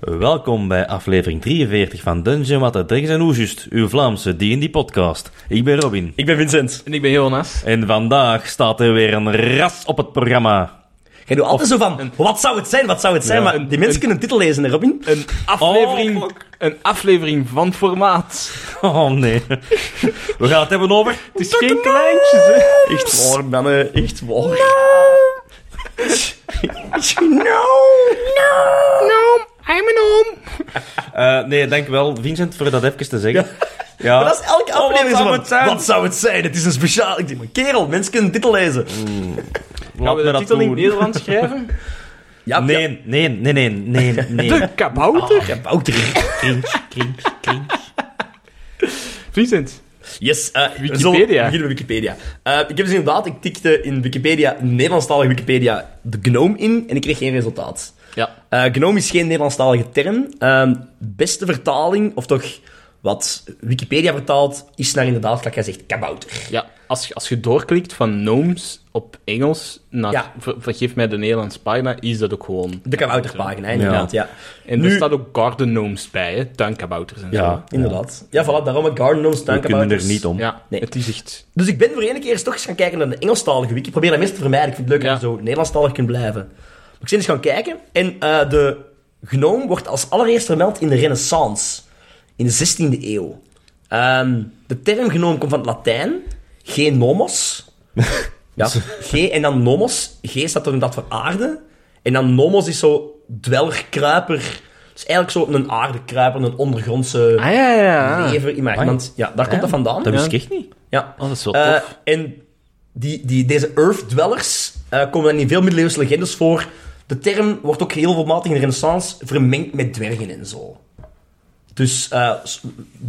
Welkom bij aflevering 43 van Dungeon Water Drinks en Oesjust, uw Vlaamse D&D-podcast. Ik ben Robin. Ik ben Vincent. En ik ben Jonas. En vandaag staat er weer een ras op het programma. Jij doet altijd zo van, wat zou het zijn, wat zou het zijn? maar die mensen kunnen een titel lezen, hè, Robin. Een aflevering, een aflevering van formaat. Oh nee. We gaan het hebben over... Het is geen kleintjes, hè. Echt waar, mannen, echt waar. No, I'm an oom. Eh, nee, dankjewel Vincent voor dat even te zeggen. Ja. Maar dat is elke aflevering zou zo van, het zijn? wat Oh, zou het zijn? Het is een speciaal... Ik denk, maar kerel, mensen kunnen een titel lezen. Gaan Laat we me de dat titel in het doen. Nederlands schrijven? Ja, ja. Nee, nee, nee, nee, nee, nee. De kabouter. Ja, Wouter. Cringe, cringe, cringe. Vincent. Yes, eh, we Wikipedia. zullen beginnen met Wikipedia. Eh, ik heb dus inderdaad, ik tikte in Wikipedia, Nederlandstalige Wikipedia, de GNOME in en ik kreeg geen resultaat. Ja. Eh, GNOME is geen Nederlandstalige term. Ehm, beste vertaling, of toch wat Wikipedia vertaalt, is naar inderdaad, gelijk jij zegt, kabouter. Ja, als, je- als je doorklikt van gnomes op Engels naar, Ja. ver- vergeef mij de Nederlandse pagina, is dat ook gewoon... De kabouterpagina, hè, inderdaad, ja. En Nu- er staat ook garden gnomes bij, hè. Tuinkabouters en Ja, zo. Inderdaad. Ja, voilà, daarom het Garden Gnomes, we kunnen er tuinkabouters. niet om. Ja, Nee. het is echt... Dus ik ben voor één keer eens toch eens gaan kijken naar de Engelstalige wiki. Ik probeer dat meest te vermijden. Ik vind het leuk Ja. dat je zo Nederlandstalig kunt blijven. Maar ik ben eens gaan kijken. En eh, de gnoom wordt als allereerst vermeld in de renaissance. In de 16e eeuw. Ehm, de term gnoom komt van het Latijn. Geen nomos. ja. G en dan nomos. G staat er inderdaad voor aarde. En dan nomos is zo dweller, kruiper. Dus eigenlijk zo een aardekruiper, een ondergrondse Ah, ja, ja, ja. Ah lever. Iemand, iemand- ja, daar komt dat vandaan. Dat wist ik Ja. echt niet. Ja. Oh, dat is wel Eh, tof. en die, die, deze Earth Dwellers eh, komen dan in veel middeleeuwse legendes voor. De term wordt ook heel regelmatig in de renaissance vermengd met dwergen en zo. Dus eh, s-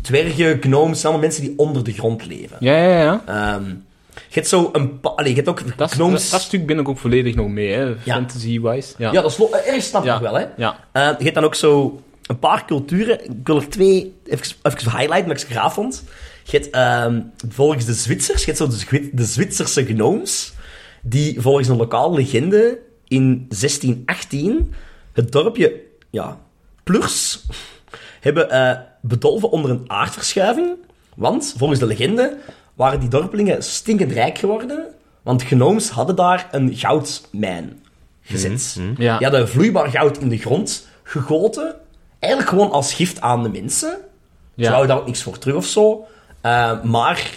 dwergen, gnomes, zijn allemaal mensen die onder de grond leven. Ja, ja, ja. Ehm, je hebt zo een paar... Allee, je hebt ook Dat, is- gnomes... dat, dat stuk ben ik ook volledig nog mee, hè. Fantasy-wise. Ja. ja, dat is lo- eh, ergens snap ik wel, hè. Ja. Eh, je hebt dan ook zo een paar culturen. Ik wil er twee even, even highlighten, omdat ik ze graaf vond. Je hebt ehm, volgens de Zwitsers, je hebt zo de, Zwi- de Zwitserse gnooms, die volgens een lokale legende in 1618 het dorpje ja, Plurs hebben eh, bedolven onder een aardverschuiving. Want volgens de legende waren die dorpelingen stinkend rijk geworden, want gnooms hadden daar een goudmijn gezet. Ja. Die hadden vloeibaar goud in de grond gegoten. Eigenlijk gewoon als gift aan de mensen. Ze Ja. houden daar ook niks voor terug of zo. Eh, maar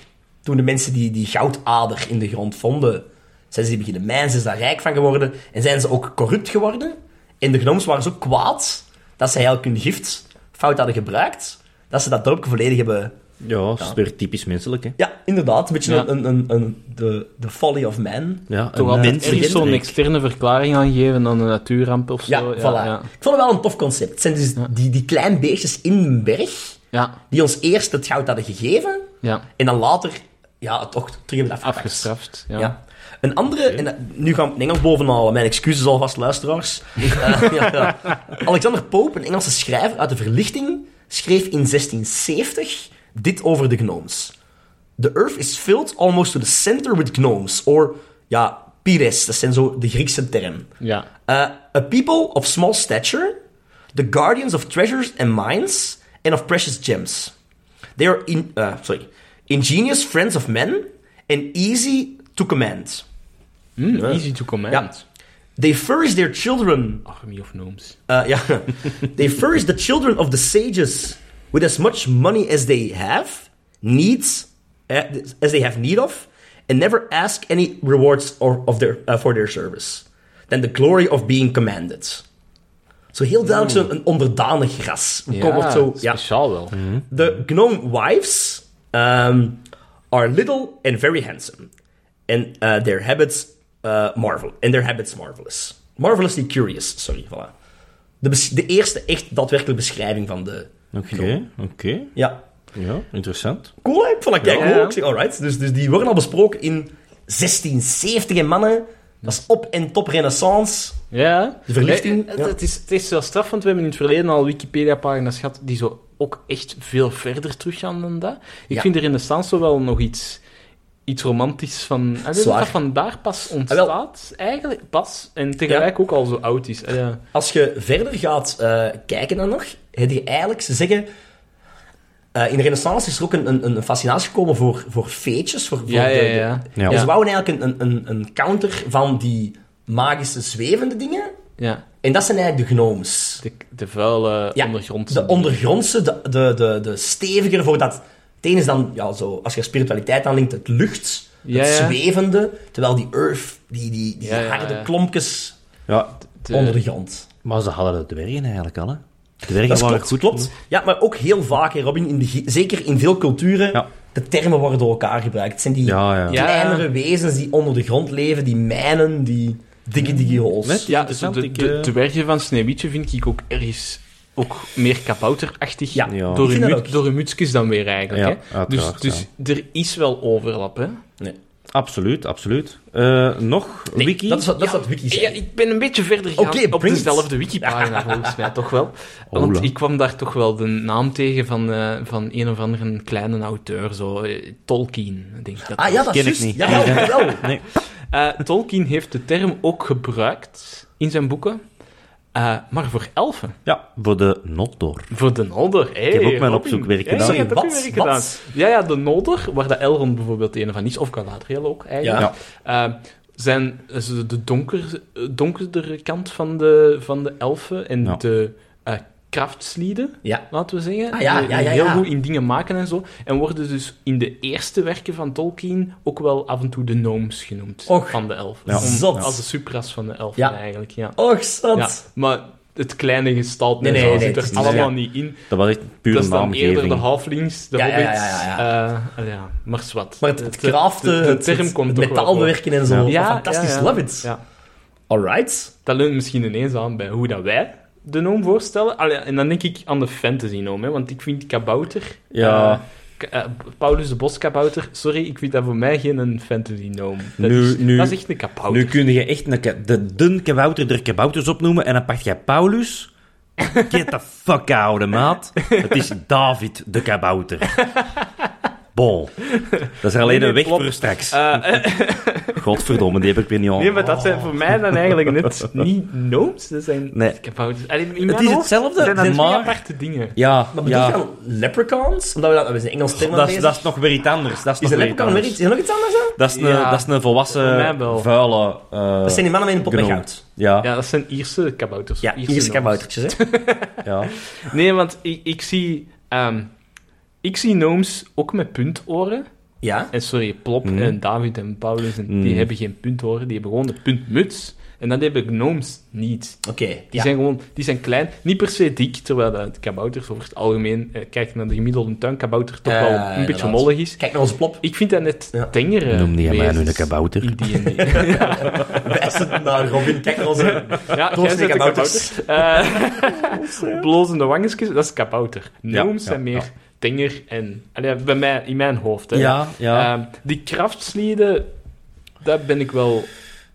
toen de mensen die, die goudader in de grond vonden, zijn ze die beginnen mijnen, zijn ze daar rijk van geworden. En zijn ze ook corrupt geworden. En de gnomes waren zo kwaad dat ze eigenlijk hun gift fout hadden gebruikt. Dat ze dat dorpje volledig hebben... Ja, dat is weer typisch menselijk, hè. Ja, inderdaad. Een beetje Ja. een, een, een, de, de folly of man. Ja, Toch een altijd menselijk eh, ergens zo'n drink. externe verklaring aan geven dan een natuurramp of zo. Ja, voilà. Ja, Ik vond het wel een tof concept. Het zijn dus die, die kleine beestjes in een berg, ja, die ons eerst het goud hadden gegeven, ja. en dan later ja, het toch terug hebben afgepakt. afgestraft. Ja. Ja. Een andere, en dat- nu gaan we het Engels bovenhalen, mijn excuses alvast, luisteraars. Eh, ja, ja. Alexander Pope, een Engelse schrijver uit de Verlichting, schreef in 1670 dit over de gnomes. The earth is filled almost to the center with gnomes, or ja, pires, dat zijn zo de Griekse term. ja. Uh, a people of small stature, the guardians of treasures and mines, and of precious gems. They are in, uh, sorry, ingenious friends of men and easy to command. Hmm, Easy to command. They furnish their children, Army of Gnomes. uh, yeah, they furnish the children of the sages with as much money as they have needs, uh, as they have need of, and never ask any rewards or, of their, uh, for their service. Than the glory of being commanded. Zo heel duidelijk zo'n een onderdanig ras. Een cohort zo, ja. speciaal wel. The gnome wives um, are little and very handsome. And uh, their habits uh, marvel. And their habits marvelous. Marvelously curious, sorry, voilà. De, bes- de eerste echt daadwerkelijke beschrijving van de... Oké, oké. Ja. Ja, interessant. Cool, hè? Ik vond dat kijk, Ja. cool. Ik zeg, alright. Dus, dus die worden al besproken in 1670, en mannen. Dat is op en top renaissance. Ja. De verlichting, Nee, het- ja. het, is, het is wel straf, want we hebben in het verleden al Wikipedia-pagina's gehad die zo ook echt veel verder teruggaan dan dat. Ik Ja. vind de renaissance wel nog iets iets romantisch van... Ah, weet je Zwaar. Ah, dat vandaar pas ontstaat, eigenlijk. Pas. En tegelijk ook al zo oud is. Ah, ja. Als je verder gaat eh, kijken dan nog, heb je eigenlijk, ze zeggen... eh, in de renaissance is er ook een, een, een fascinatie gekomen voor, voor feetjes. Voor, voor Ja, ja, de- de- ja. Ja. En ze wouden eigenlijk een, een, een, een counter van die magische zwevende dingen. ja. En dat zijn eigenlijk de gnomes. De, de vuile Ja, ondergrond. De ondergrondse, de, de, de, de stevigere, voor dat... Het een is dan, ja, zo, als je spiritualiteit aanlinkt, het lucht, Ja, het ja. zwevende, terwijl die earth, die, die, die Ja, ja, harde ja. klompjes Ja, De- onder de grond. maar ze hadden de dwergen eigenlijk al, hè? De dwergen Dat is waren klopt, goed. klopt. Ja, maar ook heel vaak, hè, Robin, in de, ge- zeker in veel culturen, Ja. de termen worden door elkaar gebruikt. Het zijn die Ja, ja. Ja. kleinere wezens die onder de grond leven, die mijnen, die dikke dikke holes. Met- Ja, zo Interessant, de, ik, de eh, dwergen van Sneeuwwitje vind ik ook ergens ook meer kabouterachtig Ja, Ja. door, ik hun vind dat mut- ook. door hun mutsjes dan weer Ja, eigenlijk. hè? Dus, uiteraard, dus er is wel overlap. Hè? Absoluut, absoluut. Eh, nog, Nee, Wiki? Dat is wat, dat is wat Wiki Ja, zegt. ik ben een beetje verder gegaan Oké, op bring it. dezelfde wikipagina volgens mij, toch wel. Want Ola. ik kwam daar toch wel de naam tegen van, eh, van een of andere kleine auteur, zo eh, Tolkien. ik Denk ik dat Ah ja, dat is Ken ik juist. niet. Ja, ja, wel. Nee. Eh, Tolkien heeft de term ook gebruikt in zijn boeken, eh, maar voor elfen. Ja, voor de Noddor. Voor de Nodder, hey, heb ook mijn Robin. opzoekwerk Ja, gedaan. ik heb Sorry, ook wat? werk Wat? gedaan. Ja, ja, de Nodder, waar de Elrond bijvoorbeeld een van is, of Galadriel ook eigenlijk, eh, zijn ze de donker, donkerdere kant van de, van de elfen en Ja. de eh krachtslieden, Ja. laten we zeggen. Ah, ja, die ja, ja, heel ja. goed in dingen maken en zo. En worden dus in de eerste werken van Tolkien ook wel af en toe de gnomes genoemd Och. van de elfen. Ja. Om- Zot. Als de supras van de elfen Ja. eigenlijk, ja. Och, zat. Ja, maar het kleine gestalte Nee, en nee, zo nee, zit het er is niet- allemaal niet in. Dat was echt puur Dat een is dan eerder de naamgeving. halflings, de Ja, ja, ja, hobbits. ja, eh, ja, maar zwart. Maar het, het kraften, de, de het, term het- komt het toch wel metaal voor. bewerken en zo. Ja. Ja, fantastisch, ja, ja. love it. Ja. Alright. Dat leunt misschien ineens aan bij hoe dat wij de noom voorstellen. Allee, en dan denk ik aan de fantasy noom, hè, want ik vind kabouter... Ja. eh, k- eh, Paulus de Boskabouter, sorry, ik vind dat voor mij geen een fantasy noom. Dat, Nu- is, nu- dat is echt een kabouter. Nu kun je echt een ka- de dun kabouter der kabouters opnoemen en dan pak jij Paulus. Get the fuck out, maat. Het is David de kabouter. Bon. Dat is er alleen Nee, een weg klopt. voor straks. Eh, eh, Godverdomme, die heb ik weer niet aan. nee, maar dat zijn voor mij dan eigenlijk net niet nooms. Dat zijn Nee. kabouters. Allee, in Het mijn is hoofd hetzelfde, zijn dat twee maar- aparte dingen. Ja, Maar bedoel je ja. aan leprechauns? Omdat we dat, we zijn Engels term Dat, is- bezig. dat is nog weer iets anders. Dat is, is nog een weer iets leprechaun weer anders. iets, is er nog iets anders aan? Dat is een, Ja. dat is een Voor mij volwassen, wel. vuile... eh, Dat zijn die mannen met een pot met gnome. goud. Ja, ja. Ja, dat zijn Ierse kabouters. Ja, hier is noemen. kaboutertjes, hè. Nee, want ik, ik zie... ehm, ik zie gnomes ook met puntoren. Ja. En sorry, Plop Mhm. en David en Paulus, en, die Mhm. hebben geen puntoren. Die hebben gewoon de puntmuts. En dat hebben gnomes niet. Oké. Die ja. zijn gewoon... Die zijn klein. Niet per se dik, terwijl dat kabouters over het algemeen... eh, kijk naar de gemiddelde tuinkabouter, toch Ja, wel een ja, beetje inderdaad. mollig is. Kijk naar onze plop. Ik vind dat net Ja. tengere Noem die aan mij nu wezens een kabouter. in D&D. Wijs het naar Robin. Kijk naar onze... Ja, Bloos zijn jij bent een kabouters. kabouter. Eh, Blozende wangetjes, dat is kabouter. Ja, Gnomes ja, zijn meer ja. dinger en... allee, bij mij, in mijn hoofd, hè. Ja, ja. Ehm, die krachtslieden, daar ben ik wel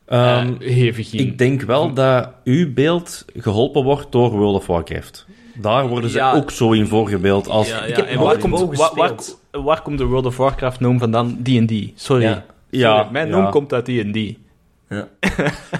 eh, Ehm, hevig in. Ik denk wel dat uw beeld geholpen wordt door World of Warcraft. Daar worden ze Ja. ook zo in voorgebeeld als... Ja, heb en nooit waar komt, WoW waar, waar, gespeeld. waar komt de World of Warcraft noom vandaan? D&D, sorry. Ja. Sorry, mijn noom komt uit D&D.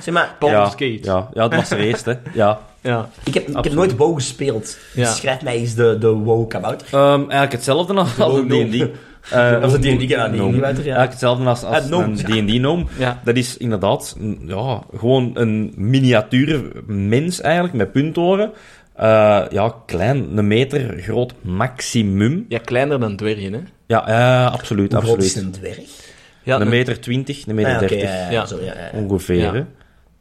Zeg maar, Baldur's ja, Gate. Ja. Ja, ja, dat was er eerst, hè. Ja. ik heb, ik heb Absoluut. nooit WoW gespeeld. Ja. Schrijf mij eens de, de WoW-kabouter. Ehm, eigenlijk hetzelfde als als een Gnome. D&D. Eh, Of de D&D, ja, die Gnome. die buiten, ja. Eigenlijk hetzelfde als, als Ah, Gnome, een D&D-noom. Ja. Dat is inderdaad mm, ja, gewoon een miniatuur mens eigenlijk, met puntoren. Eh, ja, klein, een meter groot maximum. ja, kleiner dan dwergen, hè. Ja, eh, absoluut, Hoe groot is absoluut. een dwerg? Ja, Een meter twintig, een meter Ah, oké, dertig. Ah, ja, ja, Ja. zo, ja, ja. Ongeveer, Ja. hè?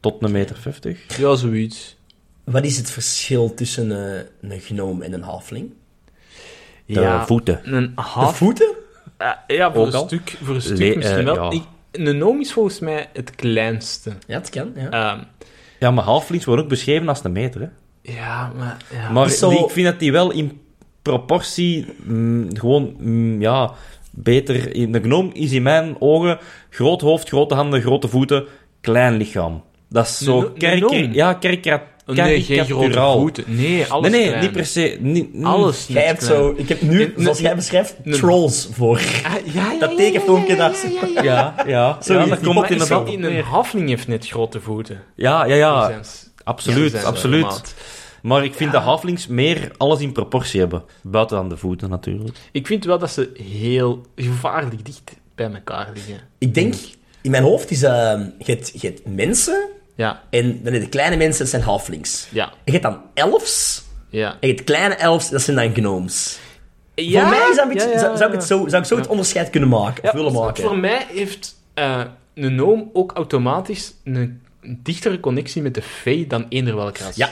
Tot een meter vijftig. ja, zoiets. Wat is het verschil tussen eh, een gnome en een halfling? De ja, voeten. Een De half voeten? Eh, ja, voor Ook een, al? stuk, voor een stuk Le- eh, misschien wel. ja. Ik, een noom is volgens mij het kleinste. Ja, dat kan, ja. Ehm, Ja, maar halflings wordt ook beschreven als een meter, hè? ja, maar... Ja. Maar Is zo- die, ik vind dat die wel in proportie mm, gewoon, mm, ja, beter... In, de gnoom is in mijn ogen groot hoofd, grote handen, grote voeten, klein lichaam. Dat is Een zo no- een kerker, gnoom? ja, kerkra- nee, geen grote karikaturaal. voeten. Nee, alles Nee, nee, klein. niet per se. Niet, niet- Alles Jij hebt zo... Ik heb nu, Een- zoals een- jij beschrijft, een- trolls voor. eh. Ah, ja, Dat tekenfilmpje daar. Ja, ja. Sorry, ja, die dat pot komt is inderdaad zo. in in een hafling heeft net grote voeten. eh, Ja, ja, Ah, Die ja. zijn s- Absoluut, die zijn absoluut. maat. Maar ik vind de halflings meer alles in proportie hebben. Buiten dan de voeten natuurlijk. Ik vind wel dat ze heel gevaarlijk dicht bij elkaar liggen. Ik denk... In mijn hoofd is... eh, je, hebt, je hebt mensen... Ja, En dan heb je kleine mensen, dat zijn halflings. ja, En je hebt dan elfs. ja. En je hebt kleine elfs, dat zijn dan gnomes. ja? Voor mij is dat een beetje, Ja, ja, zou, zou ik het zo, zou ik zo het onderscheid kunnen maken, of Ja, dus willen maken. Voor mij heeft eh, een noom ook automatisch een dichtere connectie met de fee dan eender welk ras. Ja.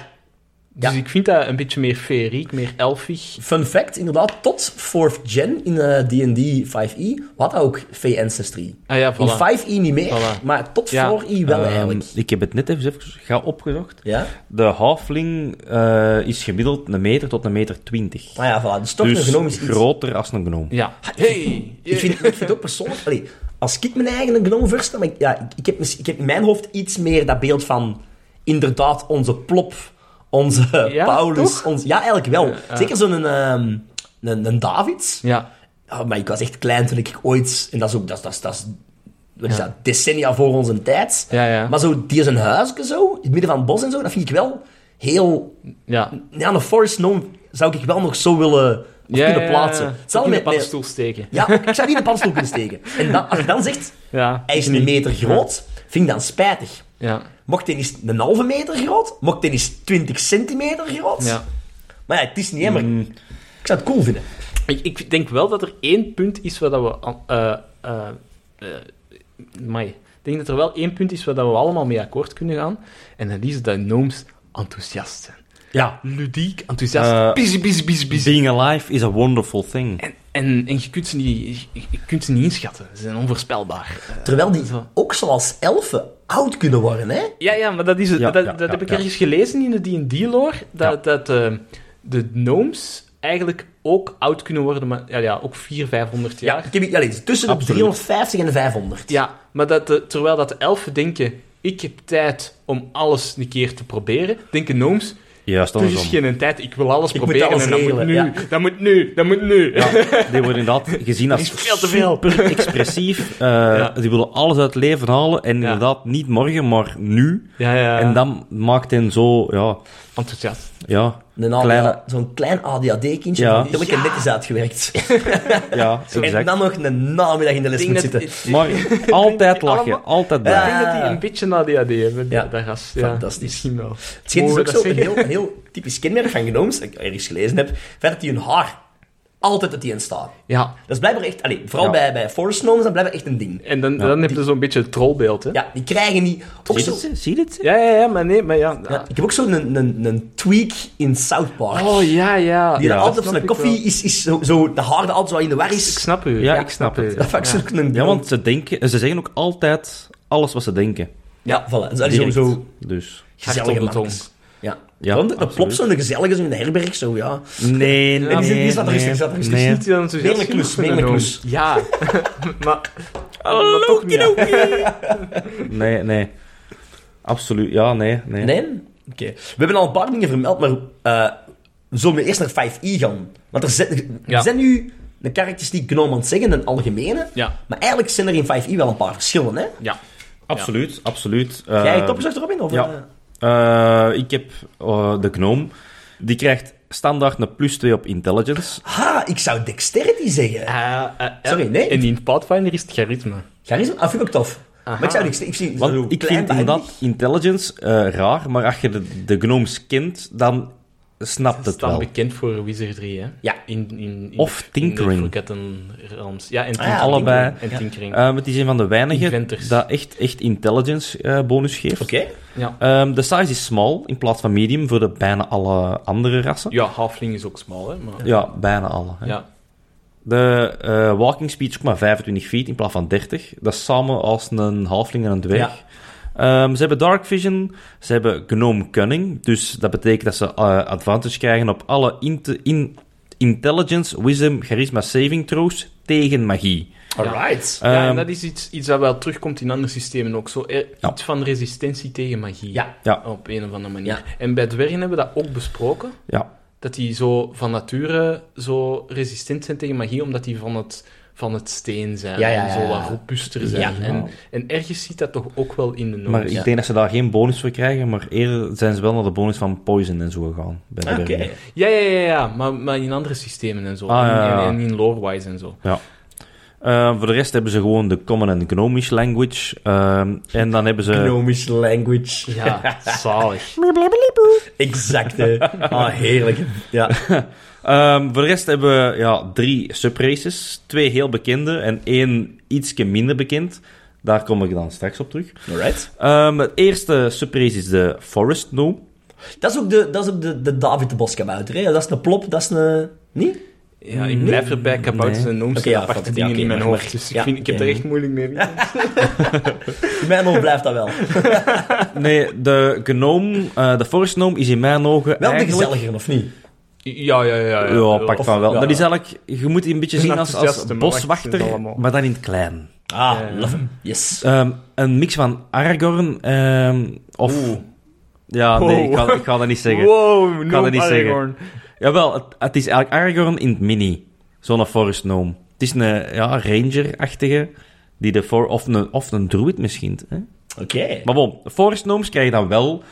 Dus Ja. ik vind dat een beetje meer feeriek, meer elfig. Fun fact, inderdaad, tot 4th gen in eh, D&D 5e had dat E, ook Fey Ancestry. Ah ja, In voilà. 5e niet meer, Voilà. maar tot Ja. 4e wel Ehm, eigenlijk. ik heb het net even, even ga opgezocht. Ja? De halfling eh, is gemiddeld een meter tot een meter twintig. Maar ja, voilà. Dus toch een Dus genoom is iets. groter als een gnoom. Ja. Hey! Ik vind, ik vind het ook persoonlijk... Allee, als ik mijn eigen genoom verstel, maar ik, ja, ik, ik heb, mis- ik heb in mijn hoofd iets meer dat beeld van inderdaad onze plop, onze Ja, Paulus. toch? Ons, ja, eigenlijk wel. Ja, ja. Zeker zo'n ehm een, een David. Ja. Ja, maar ik was echt klein toen ik ooit... En dat is ook... Dat, is- dat, is- dat, is- wat is Ja. dat? Decennia voor onze tijd. Ja, ja. Maar zo, die is een huisje zo, in het midden van het bos en zo, dat vind ik wel heel... ja. Ja, een forest gnome zou ik wel nog zo willen of ja, kunnen plaatsen. Ja, ja. Het zal Ook in met- de paddenstoel steken. Ja, ik zou die in de paddenstoel kunnen steken. En dan, als je dan zegt, Ja. Mm. hij is een meter groot, vind ik dan spijtig. Ja. Mocht hij eens een halve meter groot, mocht hij eens 20 centimeter groot. ja. Maar ja, het is niet helemaal... Mm. Ik zou het cool vinden. Ik, ik denk wel dat er één punt is waar dat we... an- eh eh eh, amai. Ik denk dat er wel één punt is waar dat we allemaal mee akkoord kunnen gaan. En dat is dat gnomes enthousiast zijn. Ja. Ludiek, enthousiast, Eh, busy, busy, busy, busy. Being alive is a wonderful thing. En, en, en je, kunt ze niet, je, je kunt ze niet inschatten. Ze zijn onvoorspelbaar. Eh, Terwijl die Zo. ook zoals elfen oud kunnen worden, hè? Ja, ja, maar dat, is, het. Ja, dat, ja, dat heb ja, ik ja. ergens gelezen in de D&D-lore, dat, Ja. dat eh, de gnomes eigenlijk ook oud kunnen worden, maar ja, ja ook 400, 500 jaar. Ja, ik heb, ja, nee, tussen de Absoluut. 350 en de 500. Ja, maar dat de- terwijl dat de elfen denken, ik heb tijd om alles een keer te proberen, denken gnomes, Juist er is andersom. geen tijd, ik wil alles Ik moet proberen alles en dat moet, regelen, nu, ja. dat moet nu, dat moet nu. Ja, Die worden inderdaad gezien als is veel te veel. super expressief. Eh, Ja. Die willen alles uit het leven halen. En inderdaad, niet morgen, maar nu. ja, ja. En dan maakt hen zo, ja, enthousiast. ja, Een ADHD Kleine- Zo'n klein ADHD-kindje Ja. dat lekker net is uitgewerkt. ja, En exact. dan nog een namiddag in de les Ik moet denk dat- zitten. ik- Maar altijd lachen, Allemaal- altijd Ik blij. denk dat die Ah. een beetje ADHD hebben, Ja. ja. dat gast. Ja. Fantastisch. Misschien wel. Het schijnt dus Mogen ook we zo dat een zeggen? heel, een heel typisch kenmerk van genooms, dat ik ergens gelezen heb, verder die hun haar altijd dat die in staan. Ja, Dat is blijkbaar echt, allee, vooral Ja. bij, bij forest gnomes, dat blijkbaar echt een ding. en dan, dan heb je zo'n beetje het trollbeeld, hè? Ja, die krijgen niet... Ook Zie je zo, dit? Zie je dit? ja, ja, ja, maar nee, maar ja. ja, ik heb ook zo'n een, een, een tweak in South Park. Oh, ja, ja. die ja, dan altijd op snap zijn ik koffie wel. is, is zo, zo, de haar dat altijd zo in de war Ik is. snap u. Ja, ik snap u. het. Dat vaak Ja. zo'n... Ja, want ze, denken, ze zeggen ook altijd alles wat ze denken. Ja, voilà. Dat is Direct. sowieso Dus. Hard op gezellige de tong. mannetjes. Ja. Ja, Waarom dat- dat absoluut. klopt zo'n gezellige zo in de herberg, zo, ja. Nee, Ja, nee, die zit- die zat er nee, rustig, zat er rustig. nee. Niet die dan zo Meer een klus, meer een klus. Oh, Ja, maar... maar toch niet, ja. Nee, nee. Absoluut, ja, nee, nee. Nee? Oké. We hebben al een paar dingen vermeld, maar eh, we zullen we eerst naar 5i gaan? Want er zijn, er Ja. zijn nu de karakteristiek genomen aan het zeggen, een algemene. Ja, Maar eigenlijk zijn er in 5i wel een paar verschillen, hè? ja. Absoluut, absoluut. Jij Eh, hebt opgezocht, Robin? Of, ja. eh? Eh, ik heb eh, de gnome. Die krijgt standaard een plus 2 op intelligence. Ha, ik zou dexterity zeggen. Sorry, nee. Eh, En in het Pathfinder is het charisma. Charisma? Ah, vind ik ook tof. Aha. Maar ik zou dexterity... Ik, zie zo Want ik klein vind bij- inderdaad intelligence eh, raar, maar als je de, de gnomes kent, dan snapt Dat het staat wel. bekend voor Wizardry, hè? Ja. In, in, in, Of in Tinkering. de Forgotten Realms. Ja, Ah, en ja, Tinkering. allebei. En Ja. Tinkering. Eh, maar het is een van de weinigen Inventors. dat echt, echt intelligence eh, bonus geeft. Oké. Ja. Ehm, de size is small in plaats van medium voor de bijna alle andere rassen. ja, halfling is ook smal, hè? Maar... Ja, bijna alle. hè. Ja. De eh, walking speed is ook maar 25 feet in plaats van 30. Dat is samen als een halfling en een dwerg. Ehm, ze hebben dark vision, ze hebben gnome cunning. Dus dat betekent dat ze eh, advantage krijgen op alle inte- in intelligence, wisdom, charisma saving throws tegen magie. Alright. Ehm, ja, en dat is iets, iets dat wel terugkomt in andere systemen ook. Zo, er- Ja. Iets van resistentie tegen magie. Ja. Ja. Op een of andere manier. Ja. En bij dwergen hebben we dat ook besproken. Ja. Dat die zo van nature zo resistent zijn tegen magie, omdat die van het, van het steen zijn. Ja, ja, ja, En zo ja. wat robuuster zijn. Ja. En, en ergens ziet dat toch ook wel in de norm. Maar ik Ja. denk dat ze daar geen bonus voor krijgen, maar eerder zijn ze wel naar de bonus van Poison en zo gegaan. bij de Ah, Oké. werving. Ja, ja, ja, ja. Maar, maar in andere systemen en zo. Ah, En- ja, ja, ja. En, en in lore-wise en zo. Eh, voor de rest hebben ze gewoon de Common and Gnomish Language. ehm, en dan hebben ze... Gnomish language. Ja, zalig. Exact, hè. Ah, heerlijk. Ja. Ehm, voor de rest hebben we ja, drie subraces. Twee heel bekende en één ietsje minder bekend. Daar kom ik dan straks op terug. Alright. Ehm, het eerste subrace is de Forest Gnome. Dat is ook de, dat is ook de, de David de Boskabouter, hè. Dat is een plop, dat is een... Niet? Ja, ik blijf erbij. Kabouters Nee. en gnomes Oké, zijn ja, aparte fuck it. Ja, dingen oké, in mijn maar- hoofd. Dus ik, ja, vind, ik heb oké. er echt moeilijk mee. In mijn ogen blijft dat wel. Nee, de gnome, eh, de forest gnome is in mijn ogen Wel de eigenlijk... gezelliger, of niet? Ja, ja, ja. Ja, pak of- van wel. ja. Dat is eigenlijk, je moet die een beetje Een zien als, als enthousiaste, maar wacht, het is boswachter, allemaal. maar dan in het klein. Ah, Ja, ja. love him. Yes. Ehm, een mix van Aragorn ehm, of... Ja, nee, Wow. ik ga, ik ga dat niet zeggen. Wow, kan noem dat niet Aragorn. Jawel, het, het is eigenlijk Aragorn in het mini. Zo'n forest gnome. Het is een ja, ranger-achtige, die de for- of, een, of een druid misschien. Hè? Oké. Maar bon, forest gnomes krijgen dan wel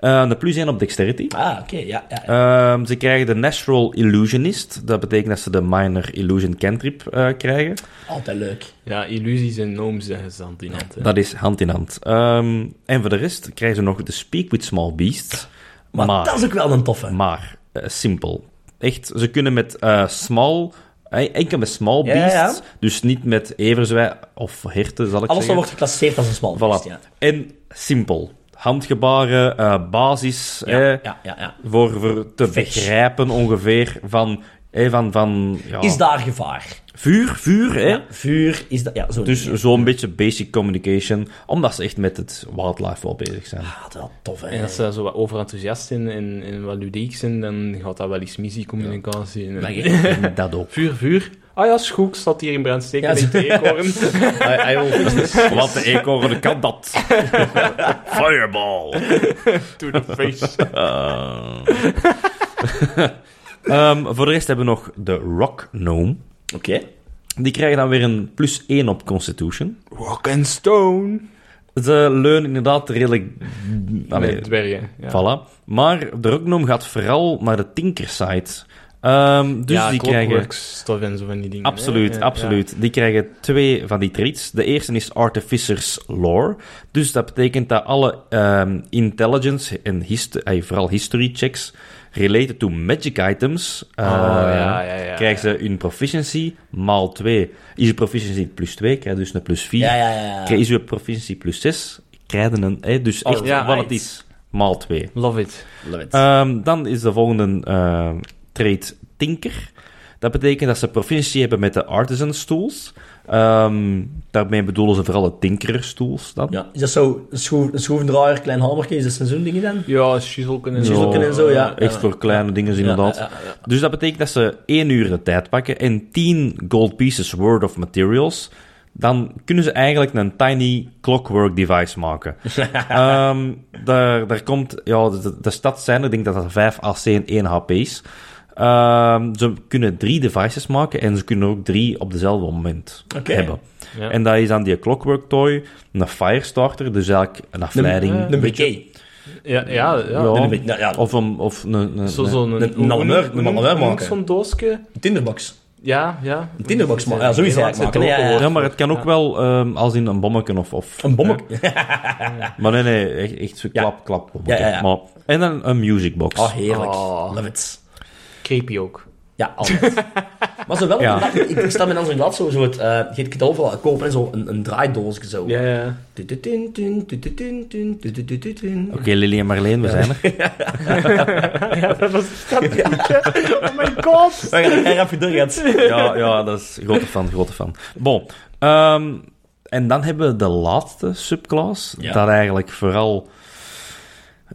eh, de plus 1 op dexterity. Ah, oké, ja, ja. Ehm, ze krijgen de Natural Illusionist. Dat betekent dat ze de Minor Illusion Cantrip eh, krijgen. Altijd leuk. Ja, illusies en gnomes zeggen ze dan die hand. hè. Dat is hand in hand. Ehm, en voor de rest krijgen ze nog de Speak with Small Beasts. Maar, dat is ook wel een toffe. Maar, eh, simpel. Echt, ze kunnen met eh, small... eh, Enkel met small Ja, beasts, ja. dus niet met everzwij of herten, zal ik Alles wat zeggen. wordt geclasseerd als een smal. Voilà. Ja. En simpel. Handgebaren, eh, basis, Ja, eh, ja, ja, ja. voor, voor te Fetch. begrijpen ongeveer van... eh, van, van ja, Is daar gevaar? Vuur, vuur, hè? Ja, vuur is dat... Ja, zo. Eh? Dus ja. zo'n beetje basic communication, omdat ze echt met het wildlife wel bezig zijn. Ah, dat is wel tof, hè. En als ze zo wat overenthousiast zijn en, en wat ludiek zijn, dan gaat dat wel eens missiecommunicatie. en- Dank je. En dat ook. Vuur, vuur. Ah ja, is goed. Ik zat hier in brand steken Ja, met de eekhoorn. I, I will fix this. Wat de eekhoorn kan dat? Fireball! to the face. Eh. Ehm, voor de rest hebben we nog de Rock Gnome. Oké. Die krijgen dan weer een plus 1 op Constitution. Rock and stone. Ze leunen inderdaad redelijk... Allee, Met dwergen. Ja. voilà. Maar de Rock Gnome gaat vooral naar de Tinker side. Ehm, dus ja, die krijgen... stof en zo van die dingen. Absoluut, hè? Ja, absoluut. Die krijgen twee van die treats. De eerste is Artificers Lore. Dus dat betekent dat alle ehm, intelligence en hist- eh, vooral history checks related to magic items. eh, ja, Oh, ja, ja, ja. Krijgen ze hun proficiency maal 2. Is je proficiency plus 2, krijg je dus een plus 4. Ja, ja, ja. ja. Is je proficiency plus 6, krijg je een... eh, dus echt Alright. wat het is, maal 2. ja. Love it. Love it. Ehm, dan is de volgende ehm trait Tinker. Dat betekent dat ze proficiency hebben met de artisans tools. Ehm, daarmee bedoelen ze vooral de tinkerers tools dan. ja. Is dat zo een, schroef, een schroevendraaier, klein hamertje? Is dat zo'n zo'n ding dan? Ja, schizzelken en Zo, Schizzelken en zo, ja. Echt voor kleine dingen inderdaad. Ja, ja, ja. Dus dat betekent dat ze één uur de tijd pakken en 10 gold pieces worth of materials. Dan kunnen ze eigenlijk een tiny clockwork device maken. Ehm, daar, daar komt, ja, de, de stad zijn, ik denk dat dat 5 AC en 1 HP is. Ehm, ze kunnen drie devices maken en ze kunnen er ook drie op dezelfde moment Oké. hebben. Ja. En dat is dan die clockwork toy, een firestarter, dus eigenlijk een afleiding. Een bouquet. Ja, ja, ja. Ja. Een beetje- nou ja, Of een... Of een, een- Zo, zo'n... Een- een allumeur- een allumeur maken. Zo'n doosje. Een tinderbox. Ja, ja. Een tinderbox maken. Ja, zoiets Heel eigenlijk lang maken. Ja, ja, Ja, maar het kan ook wel ehm, als in een bommetje of... of Een bommetje. Maar nee, nee, echt, echt zo Ja. klap, klap. Ja, ja, ja. Maar, en dan een musicbox. Oh, heerlijk. Oh. Ah. Love it. Creepy ook. Ja, altijd. maar zo wel, Ja. omdat ik, ik sta met Hans in Glad zo, zo het, eh, je kunt overal kopen en zo een, een draaidoosje zo. Ja, ja. Tututun, tun, tututun, tun, tutututun. Oké, Lily en Marleen, we zijn er. dat was dat Oh my god. We gaan er erg even doorgaan. Ja, ja, dat is grote fan, grote fan. Bon. ehm, en dan hebben we de laatste subclass. Ja. Dat eigenlijk vooral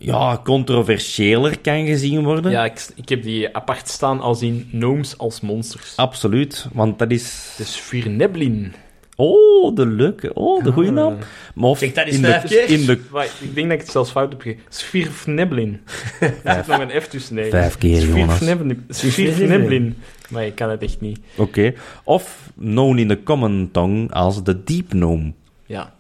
ja, controversiëler kan gezien worden. Ja, ik, ik heb die apart staan als in gnomes als monsters. Absoluut, want dat is... Het is Firneblin. Oh, de leuke. Oh, de goede naam. Maar of Zeg dat eens in de, vijf keer. in de Dus Wacht, ik denk dat ik het zelfs fout heb gegeven. Svirfneblin. Er zit nog een F tussen. nee. Vijf keer, Jonas. Svirfneblin. Svirfneblin. Maar ik kan het echt niet. Oké. Of known in the common tongue als de deep gnome. Ja.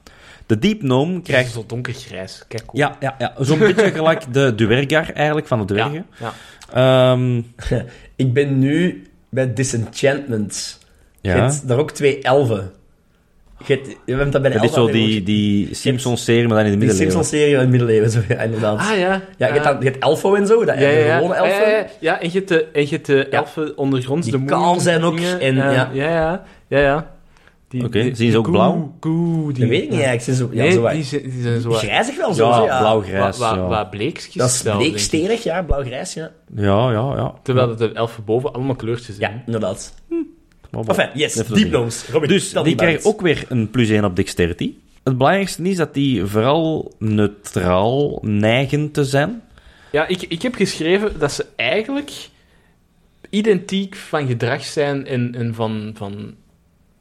De deep gnome Krijg krijgt... zo donkergrijs. Kijk hoe. Ja, ja, ja. zo'n beetje gelijk de dwergar eigenlijk, van de ja. dwergen. ja. Ehm, Ik ben nu bij Disenchantment. Ja. Je hebt daar ook twee elfen. Je hebt, we hebben dat bij de dat elfen... is zo die, ook- die Simpsons-serie, maar dan in de die middeleeuwen. Simpsons-serie in het middeleeuwen, zo, ja, inderdaad. Ah ja. ja, je hebt, Ah. dan, je hebt elfo en zo, dat Ja, ja, de ja. gewone Ah, elfen. ja, ja, ja. en je hebt de, en je hebt de elfen ondergronds. Die de kaal moeilijke zijn ook, dingen. en ja, ja. ja, ja. ja, ja. Die- Oké, die- zien ze die ook koe- blauw? koe, die, Dat weet ik niet eigenlijk. Ze Zo, ja, Nee, zo wat- die, zijn, die zijn zo wat- Grijzig wel zo, Ja, zo, ja. blauw-grijs. wa- wa- ja. wa- bleekjes Dat is zelf, denk ik. bleeksterig, ja, blauw-grijs, ja. ja, ja, ja. Terwijl dat de elfen boven allemaal kleurtjes Ja, zijn. inderdaad. Maar bon. Enfin, yes, Net zo deep dingen. gnomes. Robin, Dus stel die maar krijgen uit. ook weer een plus 1 op dexterity. Het belangrijkste is dat die vooral neutraal neigen te zijn. Ja, ik, ik heb geschreven dat ze eigenlijk identiek van gedrag zijn en, en van... van